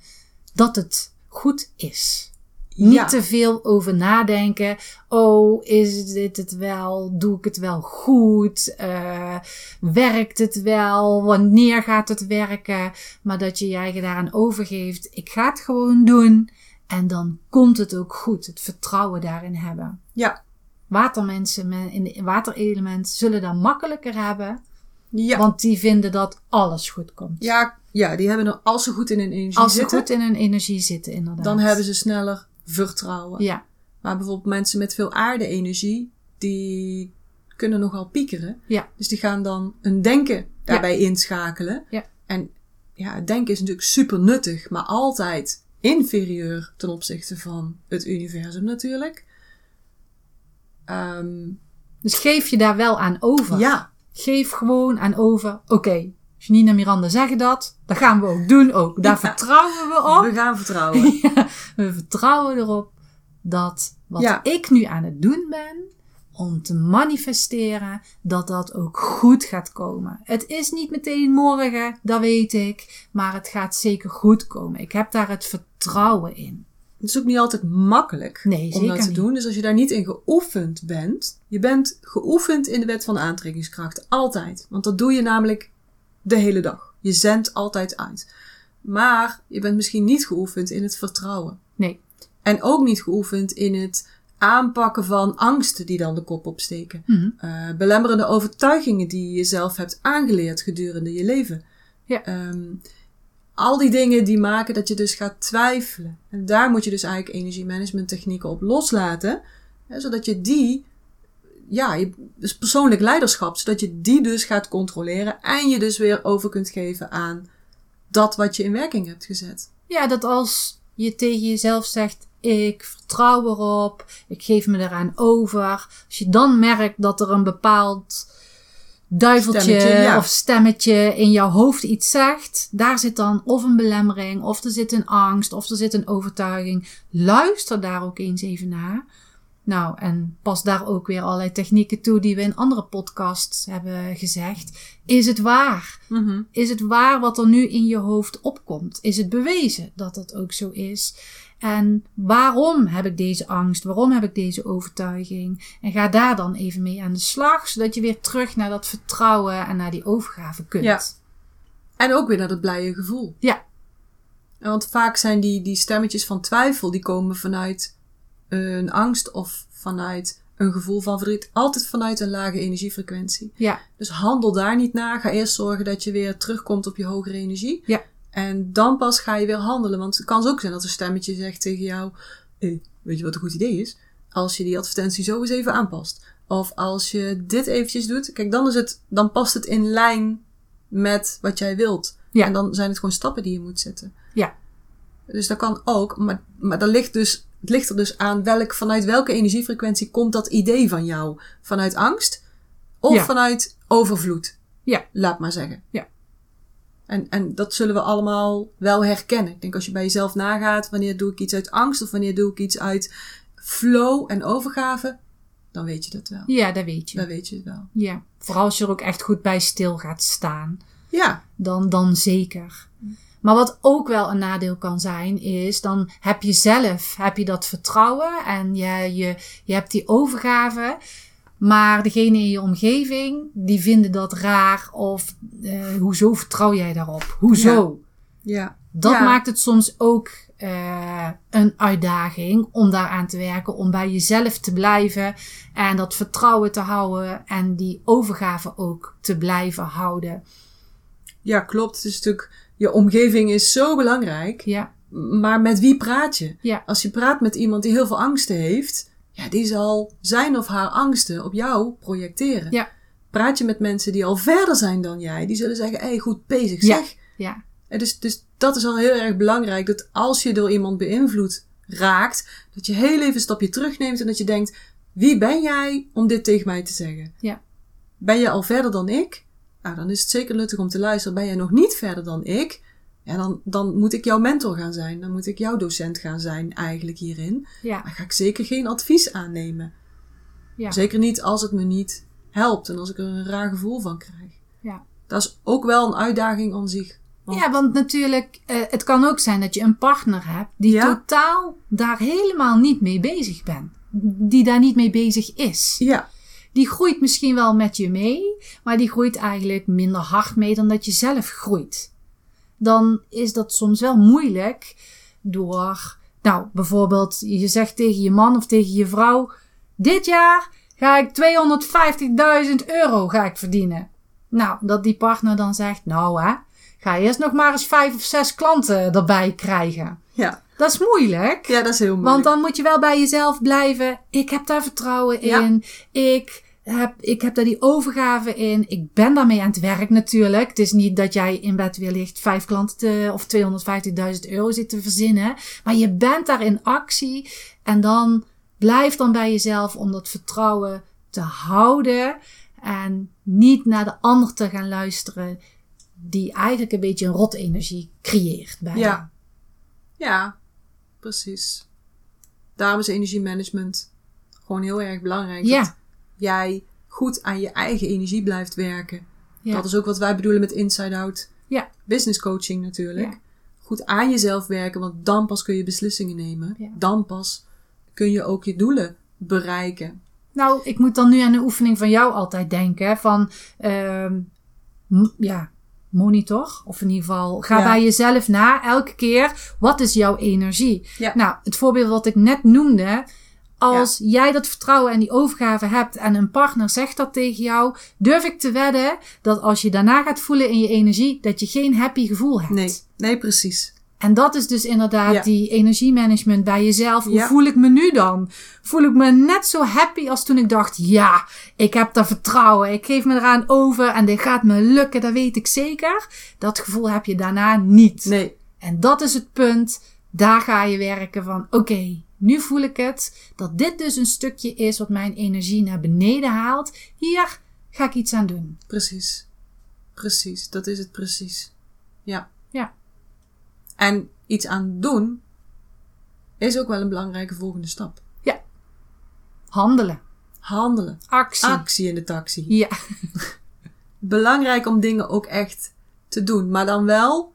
C: dat het goed is. Niet
A: ja,
C: te veel over nadenken. Oh, is dit het wel? Doe ik het wel goed? Eh, werkt het wel? Wanneer gaat het werken? Maar dat je je eigen daaraan overgeeft. Ik ga het gewoon doen. En dan komt het ook goed. Het vertrouwen daarin hebben.
A: ja,
C: Watermensen me- in het waterelement zullen dat makkelijker hebben.
A: ja,
C: Want die vinden dat alles goed komt.
A: ja, ja, die hebben er als ze goed in hun energie
C: Als ze
A: zitten,
C: goed in hun energie zitten, inderdaad.
A: dan hebben ze sneller vertrouwen.
C: Ja,
A: Maar bijvoorbeeld mensen met veel aarde-energie, die kunnen nogal piekeren.
C: Ja.
A: Dus die gaan dan een denken daarbij inschakelen.
C: Ja.
A: En ja, het denken is natuurlijk super nuttig, maar altijd inferieur ten opzichte van het universum natuurlijk. Ehm,
C: dus geef je daar wel aan over.
A: ja,
C: Geef gewoon aan over. Oké, Janine en Miranda zeggen dat. Dat gaan we ook doen ook. Daar
A: Ja.
C: vertrouwen we
A: we
C: op.
A: gaan vertrouwen.
C: We vertrouwen erop dat wat
A: Ja.
C: ik nu aan het doen ben om te manifesteren, dat dat ook goed gaat komen. Het is niet meteen morgen, dat weet ik, maar het gaat zeker goed komen. Ik heb daar het vertrouwen in.
A: Het is ook niet altijd makkelijk
C: Nee,
A: om
C: zeker
A: dat te
C: niet.
A: doen. Dus als je daar niet in geoefend bent, je bent geoefend in de wet van de aantrekkingskracht. Altijd. Want dat doe je namelijk de hele dag. Je zendt altijd uit. Maar je bent misschien niet geoefend in het vertrouwen.
C: Nee.
A: En ook niet geoefend in het aanpakken van angsten die dan de kop opsteken.
C: Mhm.
A: Eh, belemmerende overtuigingen die je zelf hebt aangeleerd gedurende je leven.
C: Ja.
A: Ehm, al die dingen die maken dat je dus gaat twijfelen. En daar moet je dus eigenlijk energiemanagement technieken op loslaten. Hè, zodat je die, ja, je, dus persoonlijk leiderschap, zodat je die dus gaat controleren. En je dus weer over kunt geven aan dat wat je in werking hebt gezet.
C: Ja, dat als je tegen jezelf zegt: ik vertrouw erop, ik geef me eraan over. Als je dan merkt dat er een bepaald duiveltje
A: Stemmetje, ja.
C: of stemmetje in jouw hoofd iets zegt, daar zit dan of een belemmering, of er zit een angst, of er zit een overtuiging. Luister daar ook eens even naar. Nou, en pas daar ook weer allerlei technieken toe die we in andere podcasts hebben gezegd. Is het waar? Is het waar wat er nu in je hoofd opkomt? Is het bewezen dat dat ook zo is? En waarom heb ik deze angst? Waarom heb ik deze overtuiging? En ga daar dan even mee aan de slag, zodat je weer terug naar dat vertrouwen en naar die overgave kunt.
A: Ja. En ook weer naar dat blije gevoel.
C: Ja.
A: En Want vaak zijn die, die stemmetjes van twijfel, die komen vanuit eh, een angst of vanuit een gevoel van verdriet. Altijd vanuit een lage energiefrequentie.
C: Ja.
A: Dus handel daar niet naar. Ga eerst zorgen dat je weer terugkomt op je hogere energie.
C: Ja.
A: En dan pas ga je weer handelen. Want het kan ook zijn dat een stemmetje zegt tegen jou: eh, Weet je wat een goed idee is? Als je die advertentie zo eens even aanpast. Of als je dit eventjes doet. Kijk, dan, is het, dan past het in lijn met wat jij wilt.
C: Ja.
A: En dan zijn het gewoon stappen die je moet zetten.
C: Ja.
A: Dus dat kan ook. Maar, maar dat ligt dus, het ligt er dus aan welk, vanuit welke energiefrequentie komt dat idee van jou? Vanuit angst of
C: Ja.
A: vanuit overvloed?
C: Ja.
A: Laat maar zeggen.
C: Ja.
A: En, en dat zullen we allemaal wel herkennen. Ik denk als je bij jezelf nagaat, wanneer doe ik iets uit angst of wanneer doe ik iets uit flow en overgave, dan weet je dat wel.
C: Ja, dat weet je.
A: Dan weet je het wel.
C: Ja. Vooral als je er ook echt goed bij stil gaat staan.
A: Ja,
C: dan, dan zeker. Maar wat ook wel een nadeel kan zijn, is dan heb je zelf heb je dat vertrouwen en je, je, je hebt die overgave. Maar degene in je omgeving, die vinden dat raar. Of eh, hoezo vertrouw jij daarop? Hoezo?
A: ja.
C: Dat
A: Ja.
C: maakt het soms ook eh, een uitdaging om daaraan te werken. Om bij jezelf te blijven en dat vertrouwen te houden. En die overgave ook te blijven houden.
A: Ja, klopt. Het is natuurlijk, je omgeving is zo belangrijk.
C: Ja,
A: Maar met wie praat je?
C: ja.
A: Als je praat met iemand die heel veel angsten heeft, ja, die zal zijn of haar angsten op jou projecteren.
C: Ja.
A: Praat je met mensen die al verder zijn dan jij, die zullen zeggen: hé, hey, goed bezig
C: Ja.
A: zeg.
C: ja.
A: En Dus, dus dat is al heel erg belangrijk, dat als je door iemand beïnvloed raakt, dat je heel even een stapje terugneemt en dat je denkt: wie ben jij om dit tegen mij te zeggen?
C: Ja.
A: Ben je al verder dan ik? Nou, dan is het zeker nuttig om te luisteren. Ben jij nog niet verder dan ik? Ja, dan, dan moet ik jouw mentor gaan zijn. Dan moet ik jouw docent gaan zijn, eigenlijk hierin.
C: Ja,
A: Maar ga ik zeker geen advies aannemen.
C: ja,
A: Zeker niet als het me niet helpt en als ik er een raar gevoel van krijg.
C: Ja.
A: Dat is ook wel een uitdaging aan zich. Want-
C: ja want natuurlijk, eh, het kan ook zijn dat je een partner hebt die
A: Ja.
C: totaal daar helemaal niet mee bezig bent. Die daar niet mee bezig is.
A: Ja,
C: Die groeit misschien wel met je mee, maar die groeit eigenlijk minder hard mee dan dat je zelf groeit. Dan is dat soms wel moeilijk door, nou bijvoorbeeld, je zegt tegen je man of tegen je vrouw: Dit jaar ga ik 250.000 euro ga ik verdienen. Nou, dat die partner dan zegt: Nou, hè, ga eerst nog maar eens vijf of zes klanten erbij krijgen.
A: ja.
C: Dat is moeilijk.
A: ja dat is heel moeilijk.
C: Want dan moet je wel bij jezelf blijven. Ik heb daar vertrouwen
A: Ja.
C: in. Ik, heb, ik heb daar die overgave in. Ik ben daarmee aan het werk natuurlijk. Het is niet dat jij in bed wellicht vijf klanten te- of 250.000 euro zit te verzinnen. Maar je bent daar in actie. En dan blijf dan bij jezelf om dat vertrouwen te houden. En niet naar de ander te gaan luisteren. Die eigenlijk een beetje een rot energie creëert bij
A: Ja.
C: jou.
A: Ja, precies. Daarom is energiemanagement gewoon heel erg belangrijk. Dat
C: Ja,
A: jij goed aan je eigen energie blijft werken.
C: Ja.
A: Dat is ook wat wij bedoelen met inside-out
C: Ja.
A: business coaching natuurlijk.
C: Ja.
A: goed aan jezelf werken, want dan pas kun je beslissingen nemen.
C: Ja.
A: Dan pas kun je ook je doelen bereiken.
C: Nou, ik moet dan nu aan de oefening van jou altijd denken. hè, Van, ehm, m- ja, monitor. Of in ieder geval, ga
A: Ja.
C: bij jezelf na elke keer. Wat is jouw energie?
A: Ja.
C: Nou, het voorbeeld wat ik net noemde. Als jij dat vertrouwen en die overgave hebt en een partner zegt dat tegen jou, durf ik te wedden dat als je daarna gaat voelen in je energie, dat je geen happy gevoel hebt.
A: Nee, nee, precies.
C: En dat is dus inderdaad
A: Ja.
C: die energiemanagement bij jezelf. Hoe
A: Ja.
C: voel ik me nu dan? Voel ik me net zo happy als toen ik dacht: ja, ik heb daar vertrouwen. Ik geef me eraan over en dit gaat me lukken, dat weet ik zeker. Dat gevoel heb je daarna niet.
A: Nee,
C: En dat is het punt. Daar ga je werken van: oké, nu voel ik het. Dat dit dus een stukje is wat mijn energie naar beneden haalt. Hier ga ik iets aan doen.
A: precies. Precies, dat is het precies. Ja.
C: Ja.
A: En iets aan doen is ook wel een belangrijke volgende stap.
C: Handelen.
A: Handelen.
C: Actie.
A: Actie in de taxi.
C: ja.
A: belangrijk om dingen ook echt te doen. Maar dan wel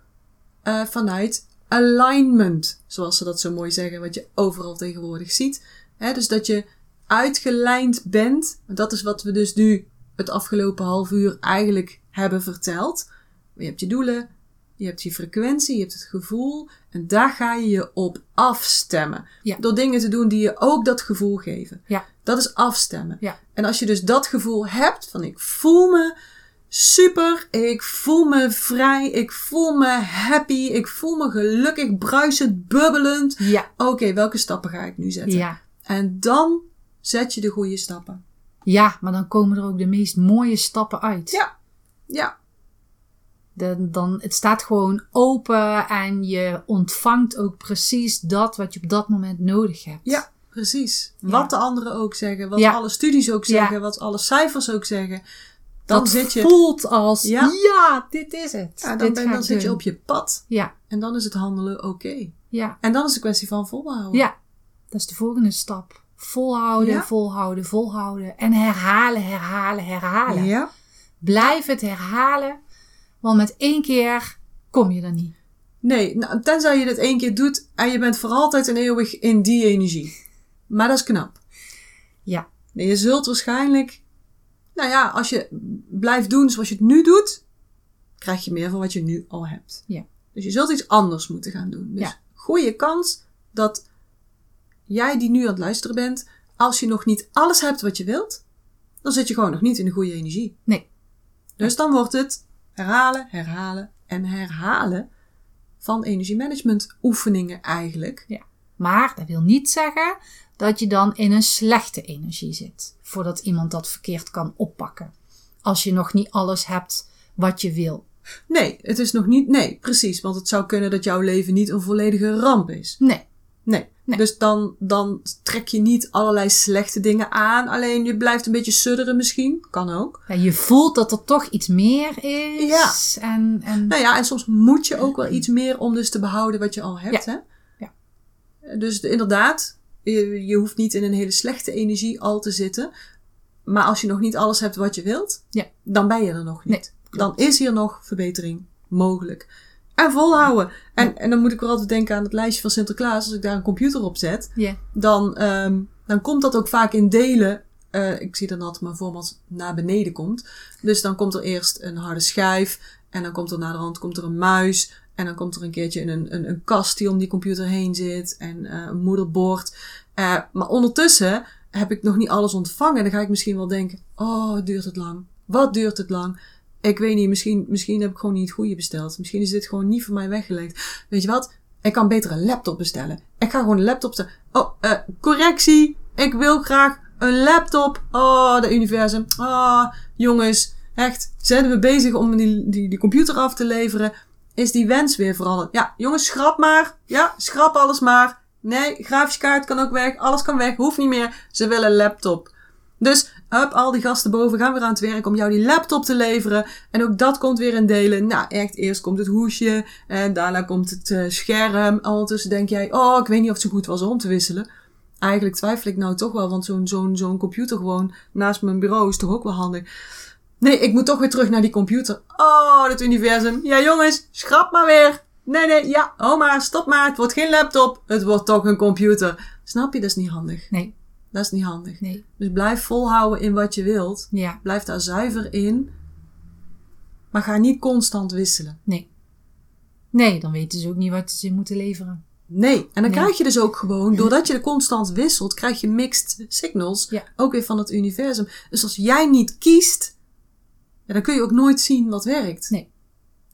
A: eh, vanuit alignment, zoals ze dat zo mooi zeggen, wat je overal tegenwoordig ziet. Hè, dus dat je uitgelijnd bent. Dat is wat we dus nu het afgelopen half uur eigenlijk hebben verteld. Je hebt je doelen, je hebt je frequentie, je hebt het gevoel. En daar ga je je op afstemmen.
C: Ja.
A: Door dingen te doen die je ook dat gevoel geven.
C: Ja.
A: Dat is afstemmen.
C: Ja.
A: En als je dus dat gevoel hebt van ik voel me super, ik voel me vrij, ik voel me happy, ik voel me gelukkig, bruisend, bubbelend.
C: Ja.
A: Oké, welke stappen ga ik nu zetten?
C: Ja.
A: En dan zet je de goede stappen.
C: Ja, maar dan komen er ook de meest mooie stappen uit.
A: Ja. Ja,
C: Dan- dan, het staat gewoon open en je ontvangt ook precies dat wat je op dat moment nodig hebt.
A: ja, precies.
C: Ja.
A: Wat de anderen ook zeggen, wat
C: Ja.
A: alle studies ook zeggen,
C: Ja.
A: wat alle cijfers ook zeggen. Dan
C: dat
A: zit je,
C: voelt als, ja,
A: Ja.
C: dit is het.
A: ja, dan,
C: Dit
A: ben,
C: ga
A: dan
C: ik
A: zit je
C: doen.
A: op je pad
C: Ja,
A: en dan is het handelen oké.
C: ja,
A: En dan is het kwestie van volhouden.
C: ja. Dat is de volgende stap. Volhouden,
A: Ja.
C: volhouden, volhouden. En herhalen, herhalen, herhalen.
A: ja.
C: Blijf het herhalen, want met één keer kom je er niet.
A: Nee, nou, tenzij je dit één keer doet en je bent voor altijd en eeuwig in die energie. Maar dat is knap.
C: Ja,
A: Nee, je zult waarschijnlijk, nou ja, als je blijft doen zoals je het nu doet, krijg je meer van wat je nu al hebt.
C: Ja.
A: Dus je zult iets anders moeten gaan doen. Dus
C: Ja.
A: goede kans dat jij die nu aan het luisteren bent, als je nog niet alles hebt wat je wilt, dan zit je gewoon nog niet in de goede energie.
C: nee.
A: Dus dan wordt het herhalen, herhalen en herhalen van energiemanagement oefeningen eigenlijk.
C: Maar dat wil niet zeggen dat je dan in een slechte energie zit, voordat iemand dat verkeerd kan oppakken. Als je nog niet alles hebt wat je wil.
A: Nee, het is nog niet. Nee, precies. Want het zou kunnen dat jouw leven niet een volledige ramp is.
C: Nee,
A: Nee.
C: Nee.
A: Dus dan, dan trek je niet allerlei slechte dingen aan. Alleen je blijft een beetje sudderen misschien. Kan ook.
C: Ja, je voelt dat er toch iets meer is. En, en
A: Nou ja, en soms moet je ook wel iets meer om dus te behouden wat je al hebt.
C: Ja.
A: Hè?
C: Ja.
A: Dus de- inderdaad, je, je hoeft niet in een hele slechte energie al te zitten. Maar als je nog niet alles hebt wat je wilt,
C: Ja.
A: dan ben je er nog
C: Nee,
A: niet. dan is hier nog verbetering mogelijk. En volhouden. En, en dan moet ik weer altijd denken aan het lijstje van Sinterklaas. Als ik daar een computer op zet,
C: ja,
A: dan, ehm, dan komt dat ook vaak in delen. Eh, ik zie dan altijd mijn format naar beneden komt. Dus dan komt er eerst een harde schijf. En dan komt er naar de hand komt er een muis. En dan komt er een keertje een, een, een kast die om die computer heen zit. En eh, een moederbord. Eh, maar ondertussen heb ik nog niet alles ontvangen. Dan ga ik misschien wel denken: oh, duurt het lang? Wat duurt het lang? Ik weet niet, misschien, misschien heb ik gewoon niet het goede besteld. Misschien is dit gewoon niet voor mij weggelegd. Weet je wat? Ik kan beter een laptop bestellen. Ik ga gewoon een laptop bestellen. Oh, eh, correctie. Ik wil graag een laptop. Oh, de universum. Oh, jongens. Echt, zijn we bezig om die, die, die computer af te leveren? Is die wens weer veranderd? Ja, jongens, schrap maar. Ja, schrap alles maar. Nee, grafische kaart kan ook weg. Alles kan weg. Hoeft niet meer. Ze willen een laptop. Dus, hup, al die gasten boven gaan weer aan het werk om jou die laptop te leveren. En ook dat komt weer in delen. Nou, echt, eerst komt het hoesje en daarna komt het eh, scherm. En ondertussen denk jij, oh, ik weet niet of het zo goed was om te wisselen. Eigenlijk twijfel ik nou toch wel, want zo'n zo'n zo'n computer gewoon naast mijn bureau is toch ook wel handig. Nee, ik moet toch weer terug naar die computer. Oh, dat universum. Ja, jongens, schrap maar weer. Nee, nee, ja, oma, stop maar. Het wordt geen laptop. Het wordt toch een computer. Snap je? Dat is niet handig.
C: Nee,
A: Dat is niet handig.
C: nee.
A: Dus blijf volhouden in wat je wilt.
C: Ja,
A: Blijf daar zuiver in. Maar ga niet constant wisselen.
C: nee. Nee, dan weten ze ook niet wat ze moeten leveren.
A: Nee. En dan
C: Nee.
A: krijg je dus ook gewoon, doordat je er constant wisselt, krijg je mixed signals.
C: Ja.
A: Ook weer van het universum. Dus als jij niet kiest, ja, dan kun je ook nooit zien wat werkt.
C: Nee.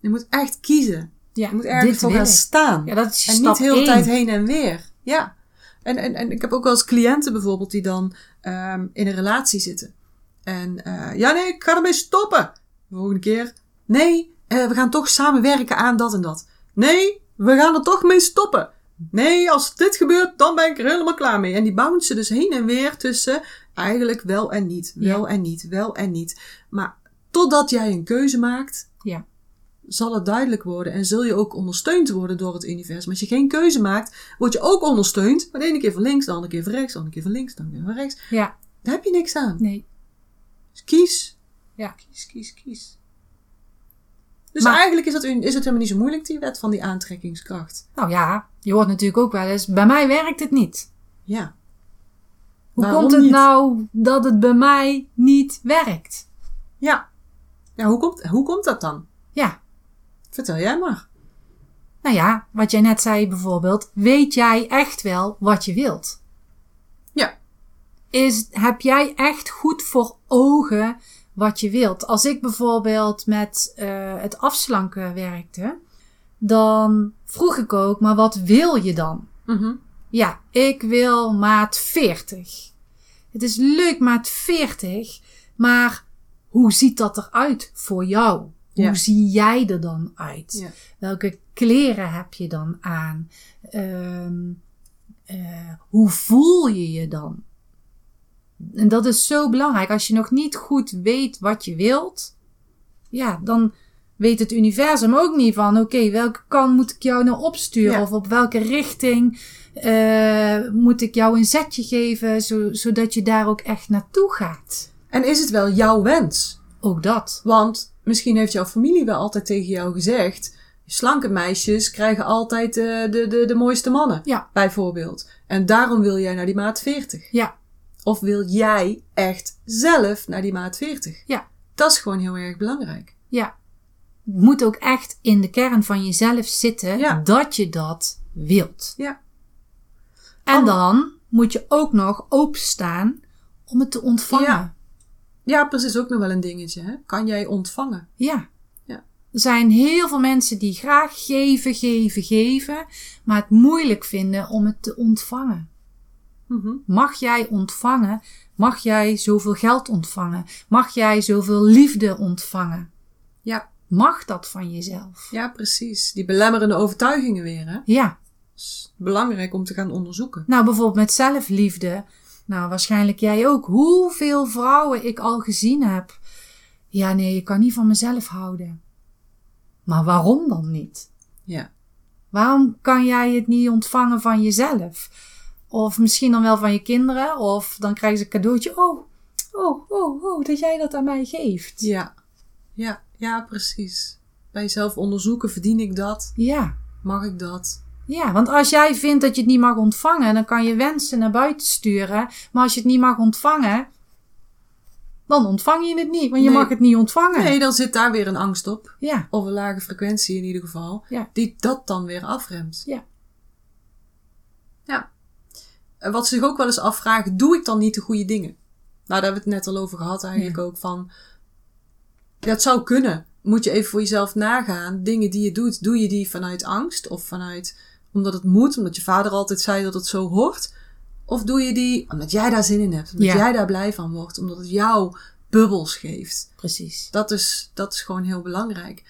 A: Je moet echt kiezen.
C: Ja,
A: Je moet ergens voor gaan
C: ik.
A: staan.
C: Ja, dat is
A: En
C: stap
A: niet heel de
C: één.
A: tijd heen en weer. Ja. En, en, en ik heb ook wel eens cliënten bijvoorbeeld die dan ehm, in een relatie zitten. En eh, ja, nee, ik ga ermee stoppen. De volgende keer. Nee, eh, we gaan toch samen werken aan dat en dat. Nee, we gaan er toch mee stoppen. Nee, als dit gebeurt, dan ben ik er helemaal klaar mee. En die bouncen dus heen en weer tussen eigenlijk wel en niet, wel en niet, wel en niet. Maar totdat jij een keuze maakt,
C: Ja.
A: zal het duidelijk worden en zul je ook ondersteund worden door het universum. Als je geen keuze maakt, word je ook ondersteund. Maar de ene keer van links, de andere keer van rechts, de andere keer van links, dan weer van rechts.
C: Ja,
A: Daar heb je niks aan.
C: nee.
A: Dus kies.
C: Ja.
A: Kies, kies, kies. Dus
C: Maar-
A: eigenlijk is, dat, un- is het helemaal niet zo moeilijk, die wet van die aantrekkingskracht.
C: Nou ja, je hoort natuurlijk ook wel eens, bij mij werkt het niet.
A: Ja.
C: Hoe
A: Waarom
C: komt het
A: niet?
C: nou dat het bij mij niet werkt?
A: Ja. Ja, hoe komt, hoe komt dat dan?
C: Ja,
A: Vertel jij maar.
C: nou ja, wat jij net zei bijvoorbeeld, weet jij echt wel wat je wilt?
A: Ja.
C: Is, heb jij echt goed voor ogen wat je wilt? Als ik bijvoorbeeld met eh, het afslanken werkte, dan vroeg ik ook, maar wat wil je dan?
A: Mhm.
C: Ja, ik wil maat 40. Het is leuk maat 40, maar hoe ziet dat eruit voor jou? Hoe
A: Ja.
C: zie jij er dan uit?
A: Ja.
C: Welke kleren heb je dan aan? Ehm, eh, hoe voel je je dan? En dat is zo belangrijk. Als je nog niet goed weet wat je wilt, ja, dan weet het universum ook niet van: oké, welke kant moet ik jou nou opsturen?
A: Ja.
C: Of op welke richting eh, moet ik jou een zetje geven, zo- zodat je daar ook echt naartoe gaat?
A: En is het wel jouw wens?
C: Ook dat.
A: Want misschien heeft jouw familie wel altijd tegen jou gezegd: slanke meisjes krijgen altijd eh, de, de, de mooiste mannen,
C: Ja.
A: bijvoorbeeld. En daarom wil jij naar die maat 40.
C: Ja,
A: Of wil jij echt zelf naar die maat 40?
C: Ja.
A: Dat is gewoon heel erg belangrijk.
C: ja. Het moet ook echt in de kern van jezelf zitten
A: Ja.
C: dat je dat wilt.
A: Ja.
C: En dan moet je ook nog openstaan om het te ontvangen.
A: Ja. Ja, precies. Ook nog wel een dingetje. Hè? Kan jij ontvangen?
C: Ja.
A: Ja.
C: Er zijn heel veel mensen die graag geven, geven, geven, maar het moeilijk vinden om het te ontvangen.
A: Mhm.
C: Mag jij ontvangen? Mag jij zoveel geld ontvangen? Mag jij zoveel liefde ontvangen?
A: Ja.
C: Mag dat van jezelf?
A: ja, precies. Die belemmerende overtuigingen weer. Hè?
C: Ja.
A: Is belangrijk om te gaan onderzoeken.
C: Nou, bijvoorbeeld met zelfliefde. Nou, waarschijnlijk jij ook. Hoeveel vrouwen ik al gezien heb. Ja, nee, ik kan niet van mezelf houden. Maar waarom dan niet?
A: Ja.
C: Waarom kan jij het niet ontvangen van jezelf? Of misschien dan wel van je kinderen, of dan krijgen ze een cadeautje. Oh, oh, oh, oh, dat jij dat aan mij geeft.
A: Ja. Ja, ja precies. Bij jezelf onderzoeken, verdien ik dat?
C: Ja,
A: Mag ik dat?
C: ja, want als jij vindt dat je het niet mag ontvangen, dan kan je wensen naar buiten sturen. Maar als je het niet mag ontvangen, dan ontvang je het niet, want je
A: Nee.
C: mag het niet ontvangen.
A: Nee, dan zit daar weer een angst op.
C: Ja,
A: Of een lage frequentie in ieder geval.
C: Ja.
A: Die dat dan weer afremt.
C: Ja.
A: Ja. En Wat ze zich ook wel eens afvragen, doe ik dan niet de goede dingen? Nou, daar hebben we het net al over gehad eigenlijk ook. Van, dat zou kunnen. Moet je even voor jezelf nagaan. Dingen die je doet, doe je die vanuit angst? Of vanuit, omdat het moet, omdat je vader altijd zei dat het zo hoort? Of doe je die omdat jij daar zin in hebt? Omdat
C: Ja.
A: jij daar blij van wordt? Omdat het jou bubbels geeft?
C: precies.
A: Dat is, dat is gewoon heel belangrijk.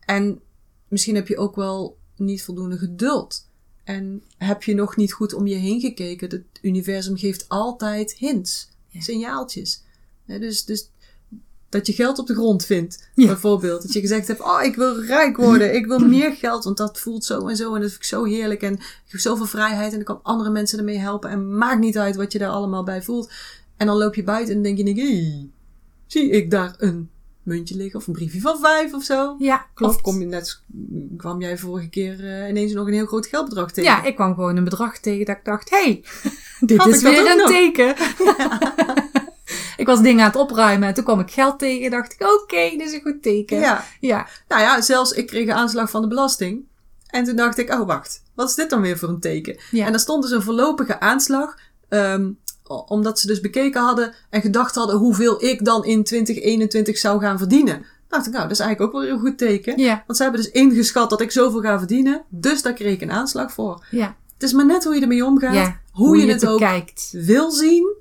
A: En misschien heb je ook wel niet voldoende geduld. En heb je nog niet goed om je heen gekeken. Het universum geeft altijd hints,
C: Ja.
A: signaaltjes. Hè, dus, dus dat je geld op de grond vindt,
C: Ja.
A: bijvoorbeeld. Dat je gezegd hebt, oh, ik wil rijk worden. Ik wil meer geld, want dat voelt zo en zo. En dat vind ik zo heerlijk. En ik heb zoveel vrijheid en ik kan andere mensen ermee helpen. En maakt niet uit wat je daar allemaal bij voelt. En dan loop je buiten en denk je, hey, zie ik daar een muntje liggen of een briefje van vijf of zo.
C: Ja, klopt.
A: Of kom je net, kwam jij vorige keer eh, ineens nog een heel groot geldbedrag tegen?
C: Ja, ik kwam gewoon een bedrag tegen dat ik dacht, hey, dit
A: Had
C: is
A: ik dat
C: weer
A: ook
C: een
A: nog?
C: teken. ik was dingen aan het opruimen en toen kwam ik geld tegen dacht ik, oké, dit is een goed teken.
A: ja.
C: ja.
A: Nou ja, zelfs ik kreeg een aanslag van de belasting. En toen dacht ik, oh wacht, wat is dit dan weer voor een teken?
C: Ja.
A: En daar stond dus een voorlopige aanslag. ehm, o- omdat ze dus bekeken hadden en gedacht hadden hoeveel ik dan in 2021 zou gaan verdienen. Dacht ik, nou, dat is eigenlijk ook wel een goed teken.
C: Ja.
A: Want ze hebben dus ingeschat dat ik zoveel ga verdienen. Dus daar kreeg ik een aanslag voor.
C: Ja.
A: Het is maar net hoe je ermee omgaat.
C: ja.
A: hoe, je, het ook
C: kijkt.
A: wil zien.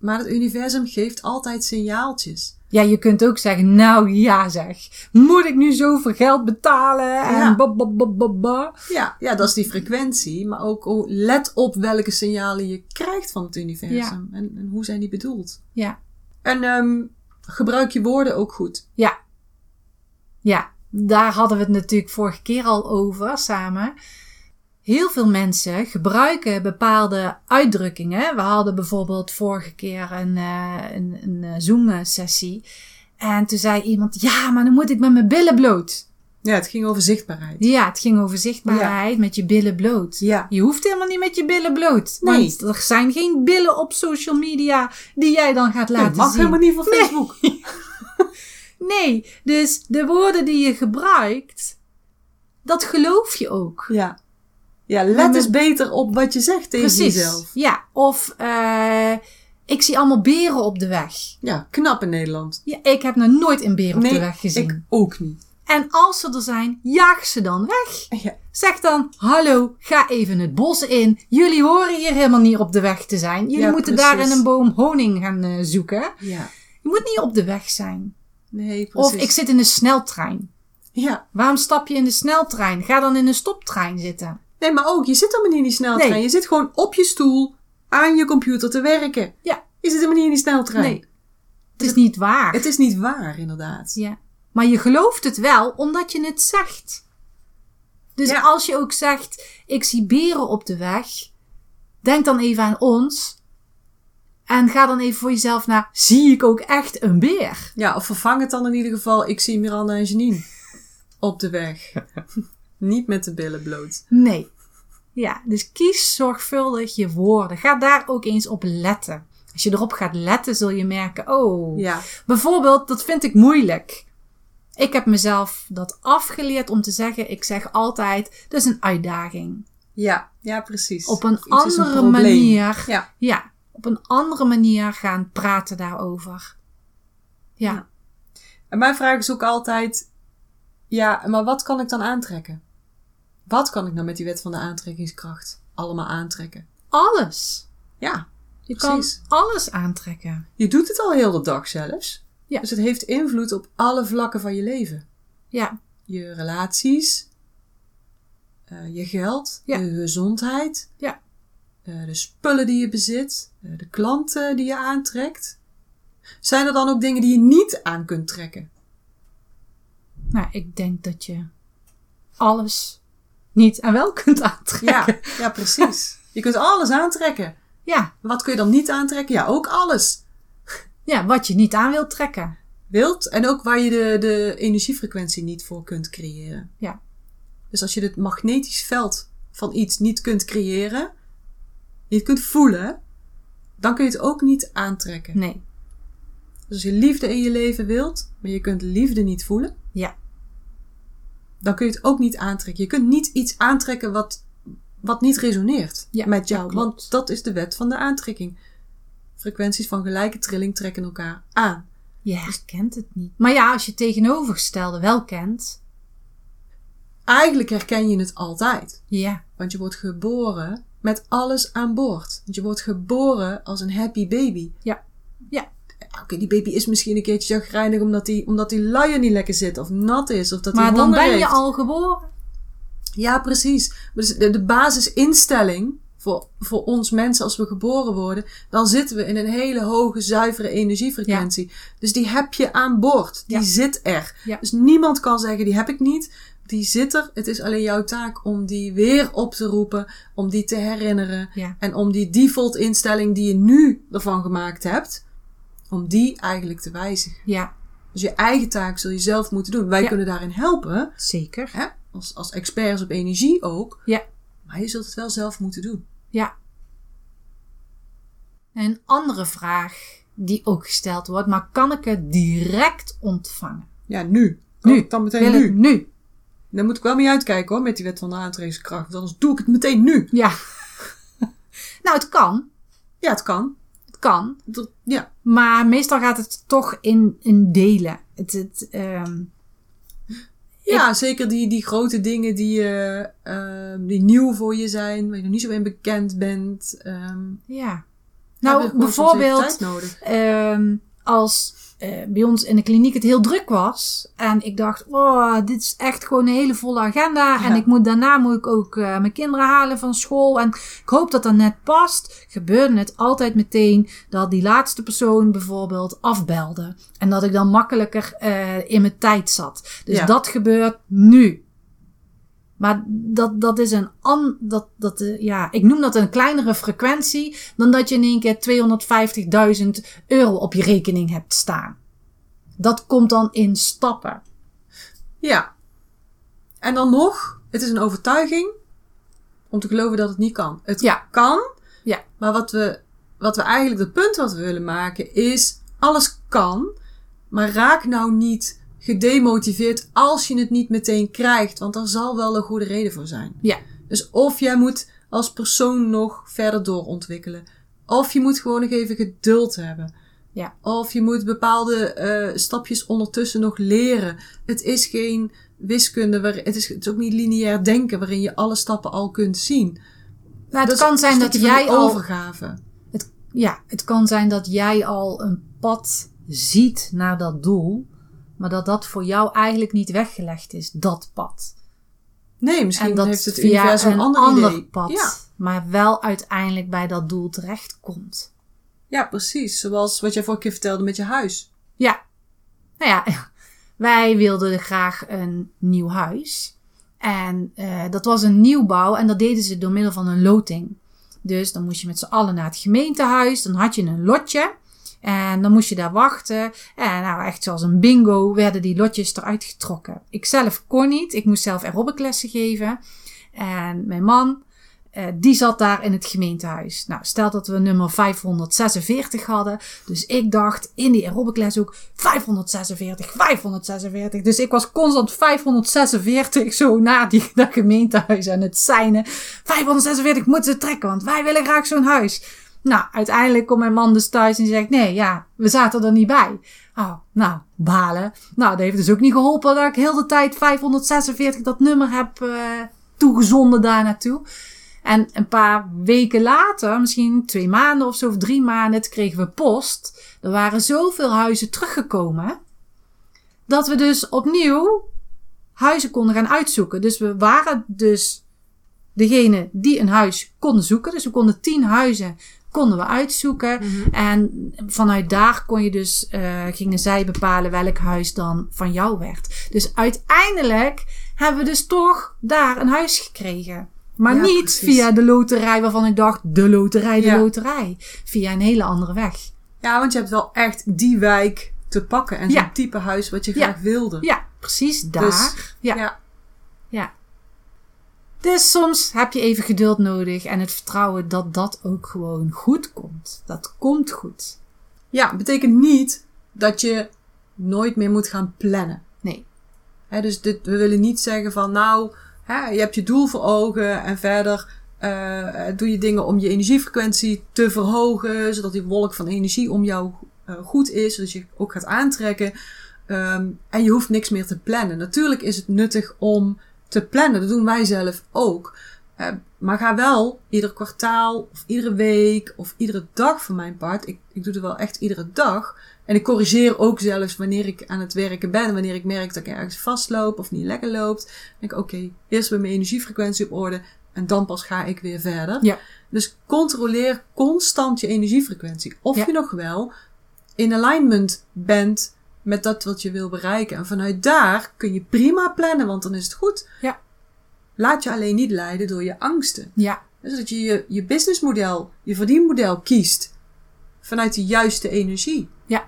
A: Maar het universum geeft altijd signaaltjes.
C: Ja, je kunt ook zeggen, nou ja zeg, moet ik nu zoveel geld betalen? En
A: Ja.
C: ba, ba, ba, ba, ba.
A: Ja, ja, dat is die frequentie. Maar ook hoe- let op welke signalen je krijgt van het universum. En, en hoe zijn die bedoeld.
C: Ja.
A: En ehm, gebruik je woorden ook goed.
C: Ja. Ja, daar hadden we het natuurlijk vorige keer al over samen. Heel veel mensen gebruiken bepaalde uitdrukkingen. We hadden bijvoorbeeld vorige keer een, eh, een, een eh, Zoom-sessie. En toen zei iemand: Ja, maar dan moet ik met mijn billen bloot.
A: Ja, het ging over zichtbaarheid.
C: Ja, het ging over zichtbaarheid met je billen bloot.
A: Ja.
C: Je hoeft helemaal niet met je billen bloot.
A: Nee.
C: Want er zijn geen billen op social media die jij dan gaat laten
A: Dat mag
C: zien.
A: helemaal niet van Facebook.
C: Nee, dus de woorden die je gebruikt, dat geloof je ook.
A: Ja. Ja, let
C: Maar
A: eens
C: met-
A: beter op wat je zegt tegen jezelf.
C: Ja, of eh, ik zie allemaal beren op de weg.
A: Ja, knap in Nederland.
C: Ja, ik heb nog nooit een beer op de weg gezien.
A: ik ook niet.
C: En als ze er zijn, jaag ze dan weg.
A: Ja.
C: Zeg dan, hallo, ga even het bos in. Jullie horen hier helemaal niet op de weg te zijn. Jullie
A: Ja,
C: moeten
A: precies.
C: daar in een boom honing gaan eh, zoeken.
A: ja.
C: Je moet niet op de weg zijn.
A: Nee, precies.
C: Of ik zit in een sneltrein.
A: Ja.
C: Waarom stap je in de sneltrein? Ga dan in een stoptrein zitten.
A: Nee, maar ook, je zit helemaal niet in die sneltrein.
C: Nee.
A: Je zit gewoon op je stoel aan je computer te werken.
C: Ja.
A: Je zit helemaal niet in die sneltrein.
C: Nee. Het is niet waar.
A: Het is niet waar, inderdaad.
C: Ja. Maar je gelooft het wel omdat je het zegt. Dus
A: Ja.
C: als je ook zegt, ik zie beren op de weg, denk dan even aan ons. En ga dan even voor jezelf naar, zie ik ook echt een beer?
A: Ja, of vervang het dan in ieder geval. Ik zie Miranda en Janine op de weg. Niet met de billen bloot.
C: Nee. Ja, dus kies zorgvuldig je woorden. Ga daar ook eens op letten. Als je erop gaat letten, zul je merken, oh,
A: Ja,
C: Bijvoorbeeld, dat vind ik moeilijk. Ik heb mezelf dat afgeleerd om te zeggen, ik zeg altijd, dat is een uitdaging.
A: ja, ja precies.
C: Op een
A: Of iets is
C: andere
A: probleem.
C: manier.
A: Ja,
C: Ja, op een andere manier gaan praten daarover. Ja,
A: Ja. en mijn vraag is ook altijd: ja, maar wat kan ik dan aantrekken? Wat kan ik nou met die wet van de aantrekkingskracht allemaal aantrekken?
C: alles.
A: Ja,
C: Je
A: Precies.
C: kan alles aantrekken.
A: je doet het al heel de dag zelfs.
C: Ja.
A: Dus het heeft invloed op alle vlakken van je leven.
C: Ja,
A: je relaties, eh, je geld,
C: Ja.
A: je gezondheid,
C: Ja.
A: eh, de spullen die je bezit, eh, de klanten die je aantrekt. Zijn er dan ook dingen die je niet aan kunt trekken?
C: nou, ik denk dat je alles niet en wel kunt
A: Ja,
C: aantrekken.
A: ja precies. Je kunt alles aantrekken.
C: ja,
A: Wat kun je dan niet aantrekken? Ja, ook alles.
C: ja wat je niet aan wilt trekken.
A: Wilt en ook waar je de, de energiefrequentie niet voor kunt creëren.
C: Ja.
A: Dus als je het magnetisch veld van iets niet kunt creëren, niet kunt voelen, dan kun je het ook niet aantrekken.
C: Nee,
A: Dus als je liefde in je leven wilt, maar je kunt liefde niet voelen,
C: ja,
A: dan kun je het ook niet aantrekken. Je kunt niet iets aantrekken wat, wat niet resoneert
C: Ja, nou,
A: met jou.
C: dat klopt.
A: want dat is de wet van de aantrekking. Frequenties van gelijke trilling trekken elkaar aan.
C: je herkent Dus het niet. Maar ja, als je het tegenovergestelde wel kent,
A: Eigenlijk herken je het altijd.
C: Ja,
A: Want je wordt geboren met alles aan boord. Want je wordt geboren als een happy baby.
C: Ja. Ja.
A: Oké, die baby is misschien een keertje chagrijnig omdat die, omdat die luier niet lekker zit of nat is of dat hij
C: maar dan
A: honger
C: ben je
A: heeft.
C: al geboren.
A: Ja, precies. Maar Dus de, de basisinstelling voor, voor ons mensen als we geboren worden, dan zitten we in een hele hoge, zuivere energiefrequentie. Dus die heb je aan boord. Die
C: Ja.
A: zit er.
C: Ja.
A: Dus niemand kan zeggen, die heb ik niet. Die zit er. Het is alleen jouw taak om die weer op te roepen, om die te herinneren.
C: Ja.
A: En om die default instelling die je nu ervan gemaakt hebt, om die eigenlijk te wijzigen.
C: Ja,
A: Dus je eigen taak zul je zelf moeten doen. Wij
C: Ja.
A: kunnen daarin helpen,
C: Zeker.
A: hè? Als, als experts op energie ook.
C: Ja.
A: Maar je zult het wel zelf moeten doen.
C: Ja. Een andere vraag die ook gesteld wordt, maar kan ik het direct ontvangen?
A: Ja, nu.
C: Nu.
A: nu. Dan meteen
C: Wil
A: nu.
C: ik nu?
A: Daar moet ik wel mee uitkijken hoor, met die wet van de aantrekkingskracht. Want Anders doe ik het meteen nu.
C: Ja. nou, het kan.
A: Ja, het kan.
C: Het kan.
A: Dat- ja.
C: Maar meestal gaat het toch in, in delen. Het, het, ehm,
A: Ja, zeker die, die grote dingen die, eh, ehm, die nieuw voor je zijn, waar je nog niet zo in bekend bent. ehm,
C: ja.
A: hebben
C: Nou,
A: gewoon soms even
C: bijvoorbeeld
A: tijd nodig.
C: ehm, als eh, bij ons in de kliniek het heel druk was. En ik dacht, oh, dit is echt gewoon een hele volle agenda. En
A: Ja.
C: ik moet, daarna moet ik ook eh, mijn kinderen halen van school. En ik hoop dat dat net past. Gebeurde het altijd meteen dat die laatste persoon bijvoorbeeld afbelde. En dat ik dan makkelijker eh, in mijn tijd zat. Dus
A: Ja.
C: dat gebeurt nu. Maar dat, dat is een an, dat, dat, eh, ja, ik noem dat een kleinere frequentie dan dat je in één keer 250.000 euro op je rekening hebt staan. Dat komt dan in stappen.
A: Ja. En dan nog, het is een overtuiging om te geloven dat het niet kan. Het
C: Ja.
A: kan,
C: Ja.
A: maar wat we, wat we eigenlijk, het punt wat we willen maken is, alles kan, maar raak nou niet gedemotiveerd als je het niet meteen krijgt, want daar zal wel een goede reden voor zijn.
C: Ja.
A: Dus of jij moet als persoon nog verder doorontwikkelen, of je moet gewoon nog even geduld hebben.
C: Ja.
A: Of je moet bepaalde eh, stapjes ondertussen nog leren. Het is geen wiskunde, waar, het, is, het is ook niet lineair denken waarin je alle stappen al kunt zien.
C: Nou,
A: Dat
C: het
A: is
C: kan
A: een
C: zijn dat
A: Dus stukje van die
C: jij al,
A: overgave.
C: ja, het kan zijn dat jij al een pad ziet naar dat doel, maar dat dat voor jou eigenlijk niet weggelegd is, dat pad.
A: Nee, misschien
C: en dat
A: heeft het
C: via
A: universum
C: een
A: een ander, idee.
C: pad,
A: Ja,
C: maar wel uiteindelijk bij dat doel terechtkomt.
A: ja, precies. Zoals wat jij vorige keer vertelde met je huis.
C: Ja. Nou ja, wij wilden graag een nieuw huis. En eh, dat was een nieuwbouw en dat deden ze door middel van een loting. Dus dan moest je met z'n allen naar het gemeentehuis. Dan had je een lotje. En dan moest je daar wachten. En nou, echt zoals een bingo werden die lotjes eruit getrokken. Ik zelf kon niet. Ik moest zelf aerobiclessen geven. En mijn man, eh, die zat daar in het gemeentehuis. Nou, stel dat we nummer 546 hadden. Dus ik dacht in die aerobicles ook 546, 546. Dus ik was constant 546 zo na die, dat gemeentehuis aan het seinen. 546 moeten ze trekken, want wij willen graag zo'n huis. Nou, uiteindelijk komt mijn man dus thuis en die zegt: Nee, ja, we zaten er niet bij. Oh, nou, balen. Nou, dat heeft dus ook niet geholpen dat ik heel de tijd 546 dat nummer heb eh, toegezonden daar naartoe. En een paar weken later, misschien twee maanden of zo, of drie maanden, toen kregen we post. Er waren zoveel huizen teruggekomen. Dat we dus opnieuw huizen konden gaan uitzoeken. Dus we waren dus degene die een huis konden zoeken. Dus we konden tien huizen konden we uitzoeken.
A: Mhm.
C: En vanuit daar kon je dus, eh, gingen zij bepalen welk huis dan van jou werd. Dus uiteindelijk hebben we dus toch daar een huis gekregen. Maar
A: Ja,
C: niet
A: precies.
C: via de loterij waarvan ik dacht, de loterij, de
A: Ja.
C: loterij. Via een hele andere weg.
A: Ja, want je hebt wel echt die wijk te pakken. En zo'n
C: Ja.
A: type huis wat je
C: Ja.
A: graag wilde.
C: Ja, precies daar.
A: Dus,
C: ja.
A: ja.
C: Ja. Dus soms heb je even geduld nodig en het vertrouwen dat dat ook gewoon goed komt. Dat komt goed.
A: Ja, betekent niet dat je nooit meer moet gaan plannen.
C: Nee.
A: Hè, dus dit, we willen niet zeggen van nou, hè, je hebt je doel voor ogen en verder eh, doe je dingen om je energiefrequentie te verhogen, zodat die wolk van energie om jou eh, goed is, zodat je ook gaat aantrekken. Ehm, en je hoeft niks meer te plannen. Natuurlijk is het nuttig om te plannen, dat doen wij zelf ook. Eh, maar ga wel ieder kwartaal of iedere week of iedere dag van mijn part. Ik, ik doe het wel echt iedere dag. En ik corrigeer ook zelfs wanneer ik aan het werken ben. Wanneer ik merk dat ik ergens vastloop of niet lekker loopt. Dan denk ik, oké, eerst weer mijn energiefrequentie op orde. En dan pas ga ik weer verder.
C: Ja.
A: Dus controleer constant je energiefrequentie. Of
C: Ja.
A: je nog wel in alignment bent met dat wat je wil bereiken. En vanuit daar kun je prima plannen, want dan is het goed.
C: Ja.
A: Laat je alleen niet leiden door je angsten.
C: Ja,
A: Dus dat je je, je businessmodel, je verdienmodel kiest vanuit de juiste energie.
C: Ja.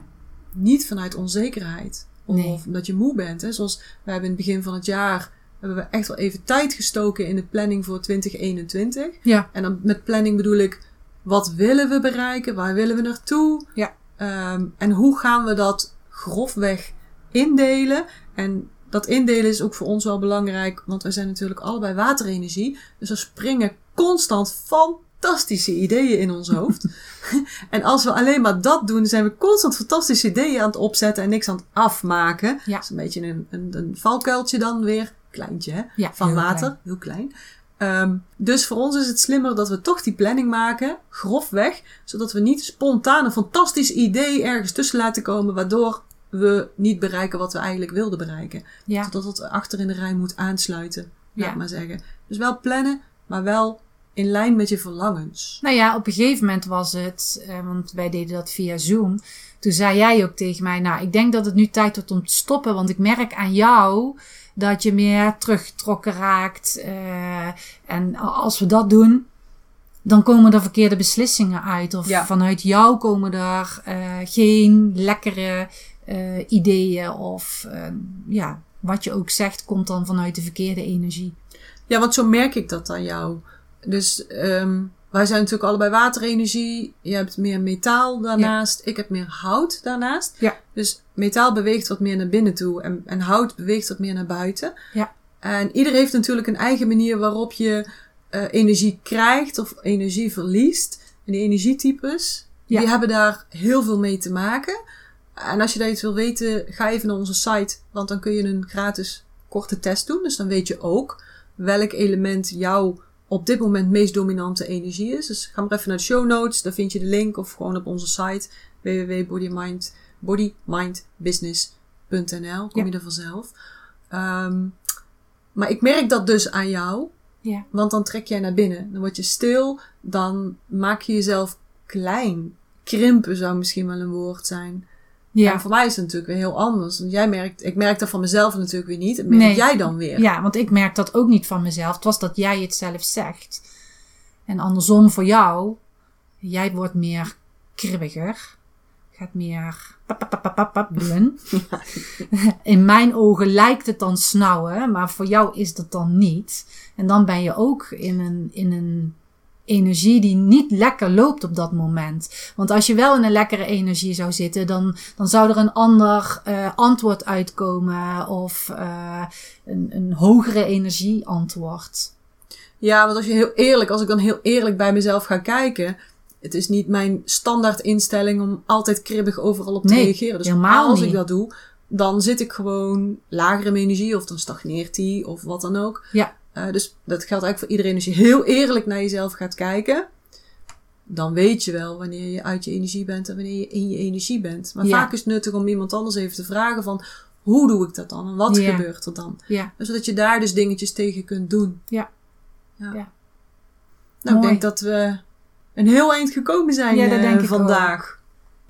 A: Niet vanuit onzekerheid. Of,
C: Nee.
A: of omdat je moe bent. Hè? Zoals we hebben in het begin van het jaar hebben we echt wel even tijd gestoken in de planning voor 2021.
C: Ja.
A: En dan met planning bedoel ik, wat willen we bereiken? Waar willen we naartoe?
C: Ja.
A: Ehm, en hoe gaan we dat grofweg indelen? En dat indelen is ook voor ons wel belangrijk, want wij zijn natuurlijk allebei waterenergie. Dus er springen constant fantastische ideeën in ons hoofd. en als we alleen maar dat doen, zijn we constant fantastische ideeën aan het opzetten en niks aan het afmaken.
C: Ja.
A: Dat is een beetje een, een, een valkuiltje dan weer. Kleintje, hè?
C: Ja,
A: van
C: heel
A: water,
C: klein.
A: heel klein. Ehm, dus voor ons is het slimmer dat we toch die planning maken, grofweg, zodat we niet spontaan een fantastisch idee ergens tussen laten komen, waardoor we niet bereiken wat we eigenlijk wilden bereiken.
C: Ja.
A: Zodat het achter in de rij moet aansluiten, laat
C: Ja.
A: maar zeggen. Dus wel plannen, maar wel in lijn met je verlangens.
C: Nou ja, op een gegeven moment was het, eh, want wij deden dat via Zoom. Toen zei jij ook tegen mij, nou, ik denk dat het nu tijd wordt om te stoppen, want ik merk aan jou dat je meer teruggetrokken raakt. eh, en a- als we dat doen, dan komen er verkeerde beslissingen uit. Of
A: Ja.
C: vanuit jou komen er eh, geen lekkere eh, ideeën. Of eh, ja, wat je ook zegt, komt dan vanuit de verkeerde energie.
A: Ja, want zo merk ik dat aan jou. Dus ehm, wij zijn natuurlijk allebei waterenergie. Je hebt meer metaal daarnaast. Ik heb meer hout daarnaast.
C: Ja.
A: Dus metaal beweegt wat meer naar binnen toe. En, en hout beweegt wat meer naar buiten.
C: Ja.
A: En ieder heeft natuurlijk een eigen manier waarop je eh, energie krijgt of energie verliest. En die energietypes,
C: Ja.
A: die hebben daar heel veel mee te maken. En als je daar iets wil weten, ga even naar onze site. Want dan kun je een gratis korte test doen. Dus dan weet je ook welk element jouw op dit moment meest dominante energie is. Dus ga maar even naar de show notes. Daar vind je de link. Of gewoon op onze site www.bodymind- bodymindbusiness.nl. Kom
C: Ja.
A: je er vanzelf. Ehm, maar ik merk dat dus aan jou.
C: Ja.
A: Want dan trek jij naar binnen. Dan word je stil. Dan maak je jezelf klein. Krimpen zou misschien wel een woord zijn. En
C: Ja.
A: voor mij is het natuurlijk weer heel anders. Want jij merkt, ik merk dat van mezelf natuurlijk weer niet. Dat merk
C: Nee.
A: jij dan weer.
C: Ja, want ik merk dat ook niet van mezelf. Het was dat jij het zelf zegt. En andersom voor jou, jij wordt meer kribbiger. Gaat meer pap, pap, pap, pap, pap, pap doen. In mijn ogen lijkt het dan snauwen, maar voor jou is dat dan niet. En dan ben je ook in een, in een energie die niet lekker loopt op dat moment. Want als je wel in een lekkere energie zou zitten, dan, dan zou er een ander eh, antwoord uitkomen of eh, een, een hogere energie antwoord.
A: Ja, want als je heel eerlijk, als ik dan heel eerlijk bij mezelf ga kijken. Het is niet mijn standaard instelling om altijd kribbig overal op te
C: Nee,
A: reageren. Dus
C: helemaal
A: als ik
C: niet.
A: dat doe, dan zit ik gewoon lager in mijn energie. Of dan stagneert die, of wat dan ook.
C: Ja,
A: Eh, dus dat geldt eigenlijk voor iedereen. Als je heel eerlijk naar jezelf gaat kijken, dan weet je wel wanneer je uit je energie bent en wanneer je in je energie bent. Maar
C: Ja.
A: vaak is het nuttig om iemand anders even te vragen van hoe doe ik dat dan en wat
C: Ja.
A: gebeurt er dan?
C: ja,
A: Zodat je daar dus dingetjes tegen kunt doen.
C: ja.
A: Nou,
C: Mooi.
A: ik denk dat we een heel eind gekomen zijn
C: Ja, dat
A: eh,
C: denk ik
A: vandaag.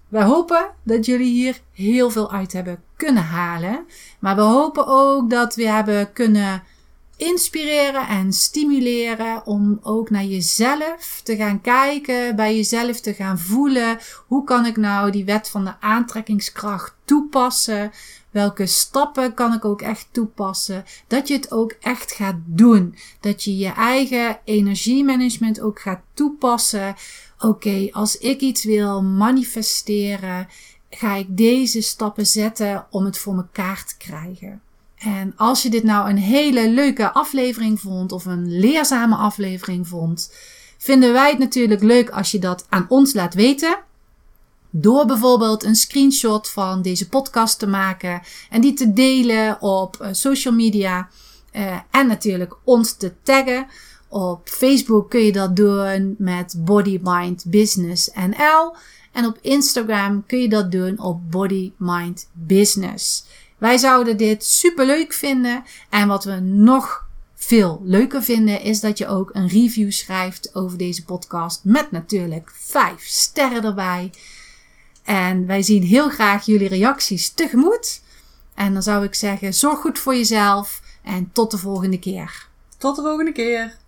C: Wij hopen dat jullie hier heel veel uit hebben kunnen halen. Maar we hopen ook dat we hebben kunnen inspireren en stimuleren om ook naar jezelf te gaan kijken, bij jezelf te gaan voelen. Hoe kan ik nou die wet van de aantrekkingskracht toepassen? Welke stappen kan ik ook echt toepassen? Dat je het ook echt gaat doen. Dat je je eigen energiemanagement ook gaat toepassen. Oké, als ik iets wil manifesteren, ga ik deze stappen zetten om het voor mekaar te krijgen. En als je dit nou een hele leuke aflevering vond of een leerzame aflevering vond, vinden wij het natuurlijk leuk als je dat aan ons laat weten. Door bijvoorbeeld een screenshot van deze podcast te maken en die te delen op eh, social media. eh, en natuurlijk ons te taggen. Op Facebook kun je dat doen met Body Mind Business NL. En op Instagram kun je dat doen op Body Mind Business. Wij zouden dit super leuk vinden. En wat we nog veel leuker vinden is dat je ook een review schrijft over deze podcast. Met natuurlijk vijf sterren erbij. En wij zien heel graag jullie reacties tegemoet. En dan zou ik zeggen, zorg goed voor jezelf en tot de volgende keer.
A: Tot de volgende keer.